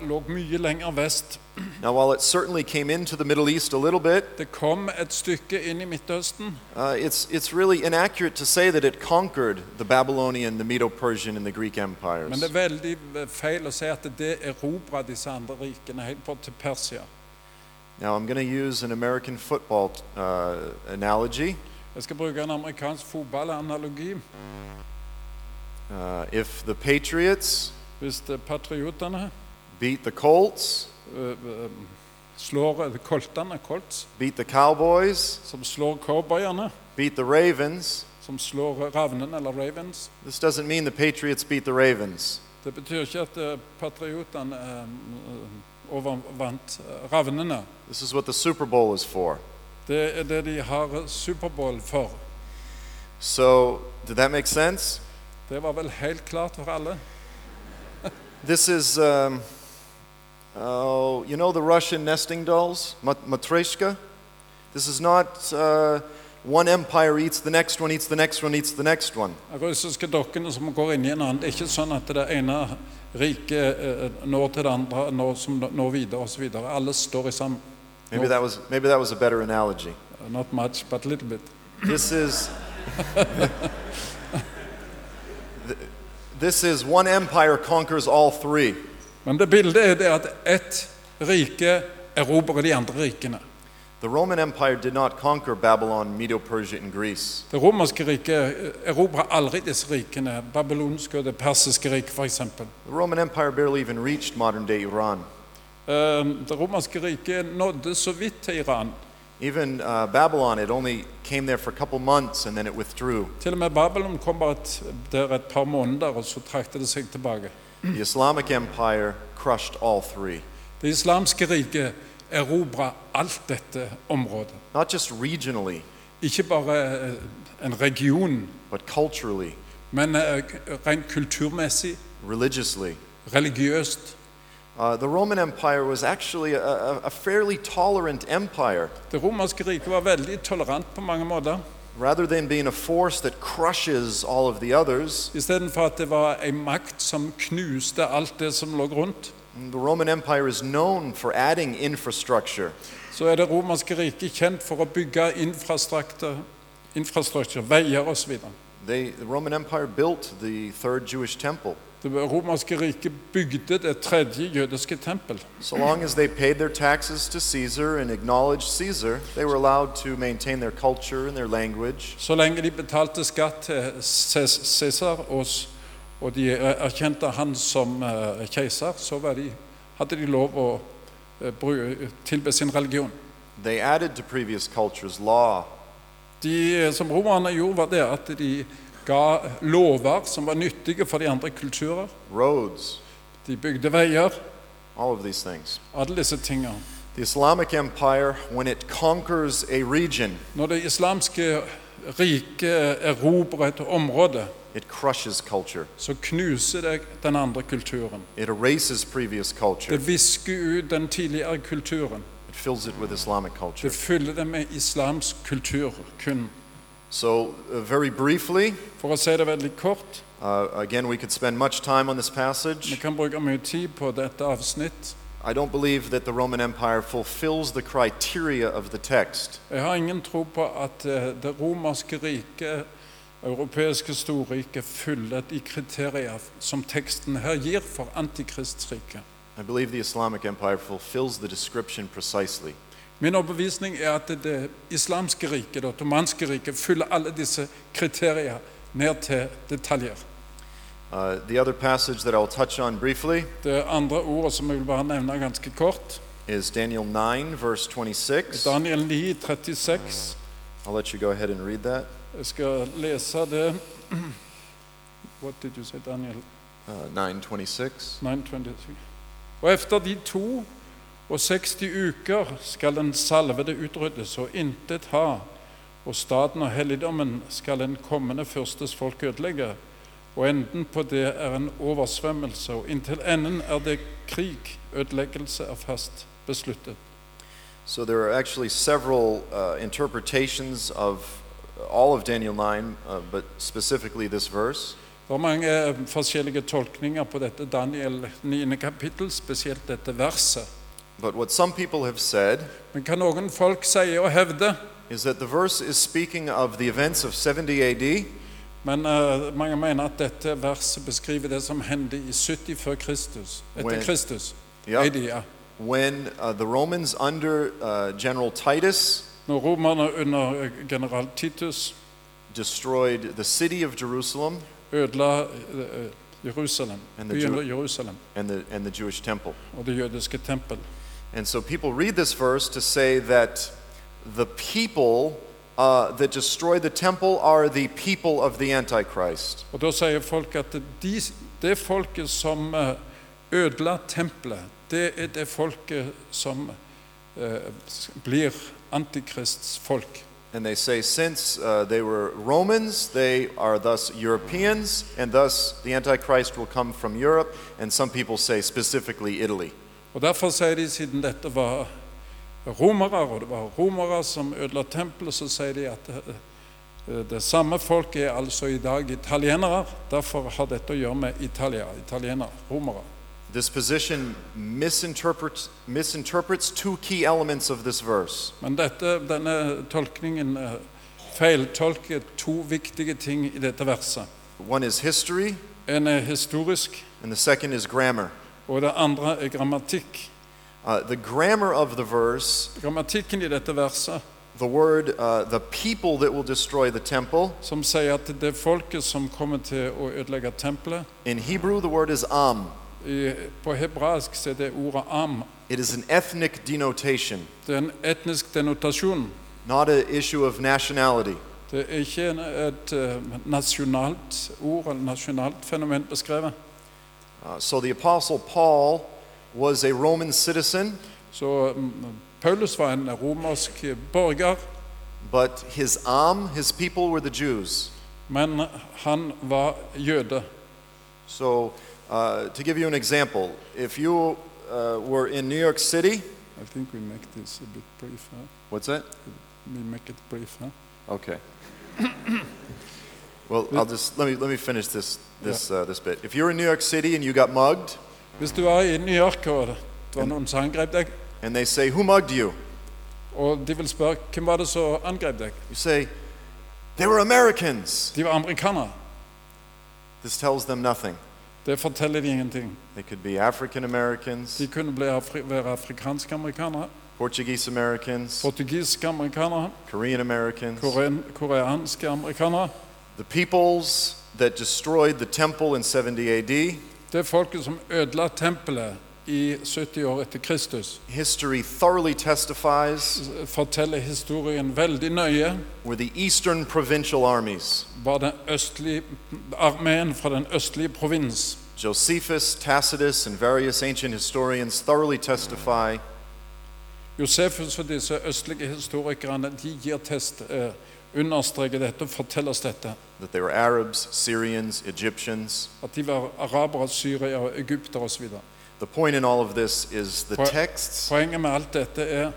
[SPEAKER 2] lå mye lenger vest.
[SPEAKER 1] Now, while it certainly came into the Middle East a little bit,
[SPEAKER 2] Det kom et stykke inn i Midtøsten,
[SPEAKER 1] Uh, it's, it's really inaccurate to say that it conquered the Babylonian, the Medo Persian, and the Greek empires.
[SPEAKER 2] men det er veldig eh, feil å si at det erobra disse andre rikene helt bort til Persia.
[SPEAKER 1] Now, I'm going to use an American football t- uh, analogy.
[SPEAKER 2] Jeg skal bruke en amerikansk fotballanalogi.
[SPEAKER 1] Uh, if the Patriots
[SPEAKER 2] Hvis det er patriotene
[SPEAKER 1] beat the Colts,
[SPEAKER 2] øh, øh, slår eh, koltene, Colts,
[SPEAKER 1] beat the Cowboys,
[SPEAKER 2] som slår cowboyene,
[SPEAKER 1] beat the Ravens,
[SPEAKER 2] som slår ravnene eller ravens
[SPEAKER 1] this doesn't mean the Patriots beat the Ravens.
[SPEAKER 2] Det betyr ikke at øh, patriotene øh, overvant øh, ravnene.
[SPEAKER 1] This is what the Super Bowl is for.
[SPEAKER 2] Det er det de har Superbowl for.
[SPEAKER 1] So, did that make sense?
[SPEAKER 2] Det var vel helt klart for alle.
[SPEAKER 1] This is, um, oh, you know the Russian nesting dolls, Mat- Matryoshka? This is not uh, one empire eats the next one, eats the next one, eats the next one.
[SPEAKER 2] De russiske dokkene som går inn i en annen. Det er ikke sånn at det ene riket eh, når til det andre, når, som når videre osv. Alle står i sammen.
[SPEAKER 1] Maybe that was, maybe that was a better analogy.
[SPEAKER 2] Not much, but little bit.
[SPEAKER 1] This is, Th- this is one empire conquers all three.
[SPEAKER 2] Men det bildet er det at ett rike erobrer de andre rikene.
[SPEAKER 1] The Roman Empire did not conquer Babylon, Medo Persia, and Greece.
[SPEAKER 2] Det romerske riket eh, erobrer aldri disse rikene. Babylonske og det persiske riket, f.eks.
[SPEAKER 1] The Roman Empire barely even reached modern day Iran.
[SPEAKER 2] Eh, Det romerske riket nådde så vidt til Iran.
[SPEAKER 1] Even uh, Babylon, it only came there for a couple months and then it withdrew.
[SPEAKER 2] Til og med Babylon kom bare et, der et par måneder, og så trakte det seg tilbake.
[SPEAKER 1] The Islamic Empire crushed all three.
[SPEAKER 2] Det islamske riket erobra alt dette området.
[SPEAKER 1] Not just regionally,
[SPEAKER 2] Ikke bare eh, en region,
[SPEAKER 1] but culturally,
[SPEAKER 2] men eh, rent kulturmessig,
[SPEAKER 1] religiously.
[SPEAKER 2] religiøst.
[SPEAKER 1] Uh, the Roman Empire was actually a, a, a fairly tolerant empire.
[SPEAKER 2] Det romerske riket var veldig tolerant på mange måter.
[SPEAKER 1] Rather than being a force that crushes all of the others,
[SPEAKER 2] Istedenfor at det var ei makt som knuste alt det som lå rundt,
[SPEAKER 1] the Roman Empire is known for adding infrastructure.
[SPEAKER 2] så er det romerske riket kjent for å bygge infrastruktur, infrastruktur veier osv.
[SPEAKER 1] They, the Roman Empire built the third Jewish temple.
[SPEAKER 2] Det romerske riket bygde det tredje jødiske tempel.
[SPEAKER 1] So long as they paid their taxes to Caesar and acknowledged Caesar, they were allowed to maintain their culture and their language.
[SPEAKER 2] Så lenge de betalte skatt til Ces- Cæsar og, s- og de erkjente han som eh, keiser, så var de, hadde de lov å eh, bru- tilbe sin religion.
[SPEAKER 1] They added to previous cultures law,
[SPEAKER 2] De eh, som romerne gjorde, var det at de ga lover som var nyttige for de andre kulturer.
[SPEAKER 1] roads,
[SPEAKER 2] De bygde veier,
[SPEAKER 1] all of these things.
[SPEAKER 2] alle disse tingene.
[SPEAKER 1] The Islamic Empire, when it conquers a region,
[SPEAKER 2] Når det islamske riket erobrer et område,
[SPEAKER 1] it crushes culture,
[SPEAKER 2] så knuser det den andre kulturen.
[SPEAKER 1] it erases previous culture,
[SPEAKER 2] Det visker ut den tidligere kulturen.
[SPEAKER 1] it fills it with Islamic culture.
[SPEAKER 2] Det fyller det med islamsk kultur kun.
[SPEAKER 1] So, uh, very briefly,
[SPEAKER 2] For å si det veldig kort,
[SPEAKER 1] uh, again, we could spend much time on this
[SPEAKER 2] vi
[SPEAKER 1] passage.
[SPEAKER 2] kan bruke mye tid på dette avsnitt.
[SPEAKER 1] I don't believe that the Roman Empire fulfills the criteria of the text.
[SPEAKER 2] Jeg har ingen tro på at eh, det romerske riket, europeiske storriket, fyller de kriterier som teksten her gir for antikristriket.
[SPEAKER 1] I believe the Islamic Empire fulfills the description precisely.
[SPEAKER 2] Min overbevisning er at det islamske riket, det ottomanske riket, fyller alle disse kriterier ned til detaljer.
[SPEAKER 1] Uh, the other passage that I'll touch on briefly
[SPEAKER 2] Det andre ordet som jeg vil bare nevne ganske kort,
[SPEAKER 1] is Daniel 9, verse 26.
[SPEAKER 2] Daniel 9, 36.
[SPEAKER 1] I'll let you go ahead and read that.
[SPEAKER 2] Jeg skal lese det. <clears throat> What did you say, Daniel?
[SPEAKER 1] Uh, 9:26.
[SPEAKER 2] 9.23. Og efter de to og 60 uker skal den salvede utryddes og intet ha, og staten og helligdommen skal den kommende fyrstes folk ødelegge, og enden på det er en oversvømmelse, og inntil enden er det krig, ødeleggelse er fast besluttet.
[SPEAKER 1] So there are actually several uh, interpretations of all of Daniel 9, uh, but specifically this verse.
[SPEAKER 2] Det er mange eh, forskjellige tolkninger på dette Daniel 9. kapittel, spesielt dette verset.
[SPEAKER 1] But what some people have said
[SPEAKER 2] Men kan noen folk si og hevde,
[SPEAKER 1] is that the verse is speaking of the events of 70 AD
[SPEAKER 2] men eh, mange mener at dette verset beskriver det som hendte i 70 før Kristus. Etter
[SPEAKER 1] When-
[SPEAKER 2] Kristus.
[SPEAKER 1] Ja.
[SPEAKER 2] AD, ja.
[SPEAKER 1] when uh, the Romans under uh, General Titus
[SPEAKER 2] Når romerne under eh, general Titus
[SPEAKER 1] destroyed the city of Jerusalem
[SPEAKER 2] ødela eh, eh, Jerusalem,
[SPEAKER 1] And the
[SPEAKER 2] byen
[SPEAKER 1] Jew-
[SPEAKER 2] Jerusalem
[SPEAKER 1] and the, and the Jewish temple.
[SPEAKER 2] og det jødiske tempel.
[SPEAKER 1] And so people read this verse to say that the people uh, that destroy the temple are the people of the Antichrist.
[SPEAKER 2] Og da sier folk at de, det folket som eh, ødela tempelet, det er det folket som eh, s- blir antikrists folk.
[SPEAKER 1] And they say, since uh, they were Romans, they are thus Europeans, and thus the Antichrist will come from Europe, and some people say specifically Italy.
[SPEAKER 2] Og Derfor sier de, siden dette var romere, og det var romere som ødela tempelet, så sier de at eh, det samme folket er altså i dag italienere. Derfor har dette å gjøre med Italia, italienere, romere.
[SPEAKER 1] This position misinterprets, misinterprets two key elements of this verse.
[SPEAKER 2] Men dette, denne tolkningen eh, feiltolker to viktige ting i dette verset.
[SPEAKER 1] One is history,
[SPEAKER 2] En er historisk,
[SPEAKER 1] and the second is grammar.
[SPEAKER 2] og det andre er grammatikk.
[SPEAKER 1] Uh, the grammar of the verse
[SPEAKER 2] Grammatikken i dette verset,
[SPEAKER 1] the word uh, the people that will destroy the temple
[SPEAKER 2] som sier at det er folket som kommer til å ødelegge tempelet
[SPEAKER 1] in hebrew the word is am
[SPEAKER 2] I, på hebraisk så er det ordet am.
[SPEAKER 1] It is an ethnic denotation,
[SPEAKER 2] Det er en etnisk denotasjon.
[SPEAKER 1] not an issue of nationality.
[SPEAKER 2] Det er ikke en, et eh, nasjonalt ord eller nasjonalt fenomen beskrevet.
[SPEAKER 1] Uh, so the Apostle Paul was a Roman citizen,
[SPEAKER 2] Så mm, Paulus var en romersk borger,
[SPEAKER 1] but his Am, his people, were the Jews.
[SPEAKER 2] men han var jøde.
[SPEAKER 1] So, uh, to give you an example, if you uh, were in New York City,
[SPEAKER 2] I think we make this a bit brief, huh?
[SPEAKER 1] what's that?
[SPEAKER 2] We make it brief, huh?
[SPEAKER 1] Okay. <coughs> well, I'll just let me let me finish this this uh, this bit. If you were in New York City and you got mugged,
[SPEAKER 2] Hvis du var i New York og det var noen som angrep deg,
[SPEAKER 1] and they say, "Who mugged you?"
[SPEAKER 2] og de vil spørre hvem var det som angrep deg,
[SPEAKER 1] You say, "They were Americans."
[SPEAKER 2] de var amerikanere.
[SPEAKER 1] This tells them nothing.
[SPEAKER 2] Det forteller de ingenting.
[SPEAKER 1] They could be African Americans,
[SPEAKER 2] De kunne bli afri være afrikanske amerikanere,
[SPEAKER 1] Portuguese Americans,
[SPEAKER 2] portugisiske amerikanere,
[SPEAKER 1] Korean Americans.
[SPEAKER 2] korean koreanske amerikanere.
[SPEAKER 1] The peoples that destroyed the temple in 70 AD,
[SPEAKER 2] Det er folket som ødela tempelet i 70 år etter Kristus.
[SPEAKER 1] history thoroughly testifies,
[SPEAKER 2] Forteller historien veldig nøye.
[SPEAKER 1] were the Eastern Provincial Armies.
[SPEAKER 2] Var den østlige armeen fra den østlige provins.
[SPEAKER 1] Josephus, Tacitus, and various ancient historians thoroughly testify
[SPEAKER 2] Josefus og disse østlige historikerne de gir test, eh, understreker dette og forteller oss dette.
[SPEAKER 1] that they were Arabs, Syrians, Egyptians.
[SPEAKER 2] At de var arabere, syrere, egyptere osv.
[SPEAKER 1] The point in all of this is the
[SPEAKER 2] Point-
[SPEAKER 1] texts
[SPEAKER 2] Poenget med alt dette er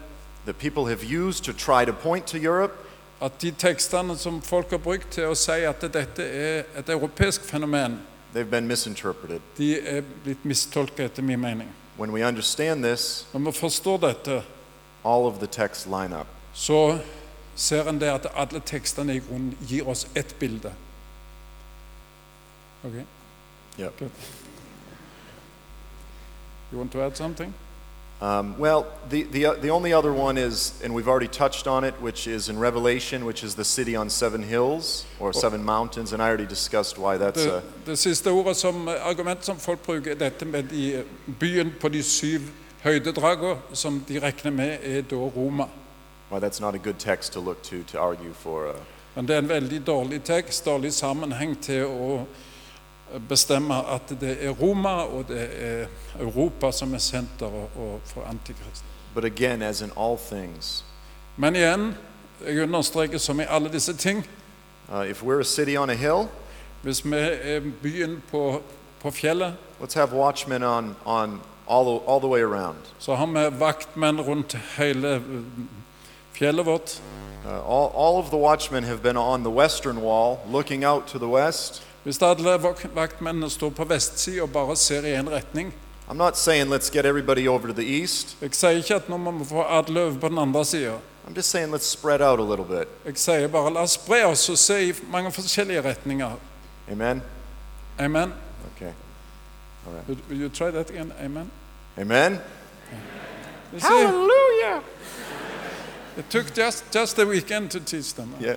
[SPEAKER 1] that people have used to try to point to Europe
[SPEAKER 2] at de tekstene som folk har brukt til å si at dette er et europeisk fenomen,
[SPEAKER 1] They've been misinterpreted.
[SPEAKER 2] de er blitt mistolket etter min mening.
[SPEAKER 1] When we understand this,
[SPEAKER 2] Når vi forstår dette,
[SPEAKER 1] all of the texts line up.
[SPEAKER 2] så ser en det at alle tekstene i grunnen gir oss ett bilde. Ok?
[SPEAKER 1] Yep.
[SPEAKER 2] Good. You want to add something?
[SPEAKER 1] Um, well, the, the, the only other one is, and we've already touched on it, which is in Revelation, which is the city on seven hills or seven mountains, and I already discussed why that's
[SPEAKER 2] Det,
[SPEAKER 1] a,
[SPEAKER 2] det siste ordet som eh, argument som folk bruker, er dette med de, eh, byen på de syv høydedragene, som de regner med er da Roma.
[SPEAKER 1] why that's not a good text to look to to argue for. Uh,
[SPEAKER 2] Men det er en veldig dårlig tekst, dårlig sammenheng til å bestemme at det er Roma og det er Europa som er senteret og- for antikrist.
[SPEAKER 1] but again, as in all things,
[SPEAKER 2] Men igjen, jeg understreker som i alle disse ting,
[SPEAKER 1] uh, if we're a city on a hill,
[SPEAKER 2] hvis vi er byen på, på fjellet,
[SPEAKER 1] let's have watchmen on, on all, all the way around.
[SPEAKER 2] så har vi vaktmenn rundt hele eh, fjellet vårt.
[SPEAKER 1] Uh, all, all of the watchmen have been on the western wall, looking out to the west.
[SPEAKER 2] Hvis alle vak- vaktmennene står på vestsida og bare ser i én retning
[SPEAKER 1] I'm not saying let's get everybody over to the east.
[SPEAKER 2] Jeg sier ikke at nå må vi få alle over på den andre sida.
[SPEAKER 1] I'm just saying let's spread out a little bit.
[SPEAKER 2] Jeg sier bare la oss spre oss og se i mange forskjellige retninger.
[SPEAKER 1] Amen?
[SPEAKER 2] Amen.
[SPEAKER 1] Okay.
[SPEAKER 2] Would, would you try that again? Amen.
[SPEAKER 1] Amen?
[SPEAKER 2] Hallelujah! It took just, just a weekend to teach them.
[SPEAKER 1] Yeah.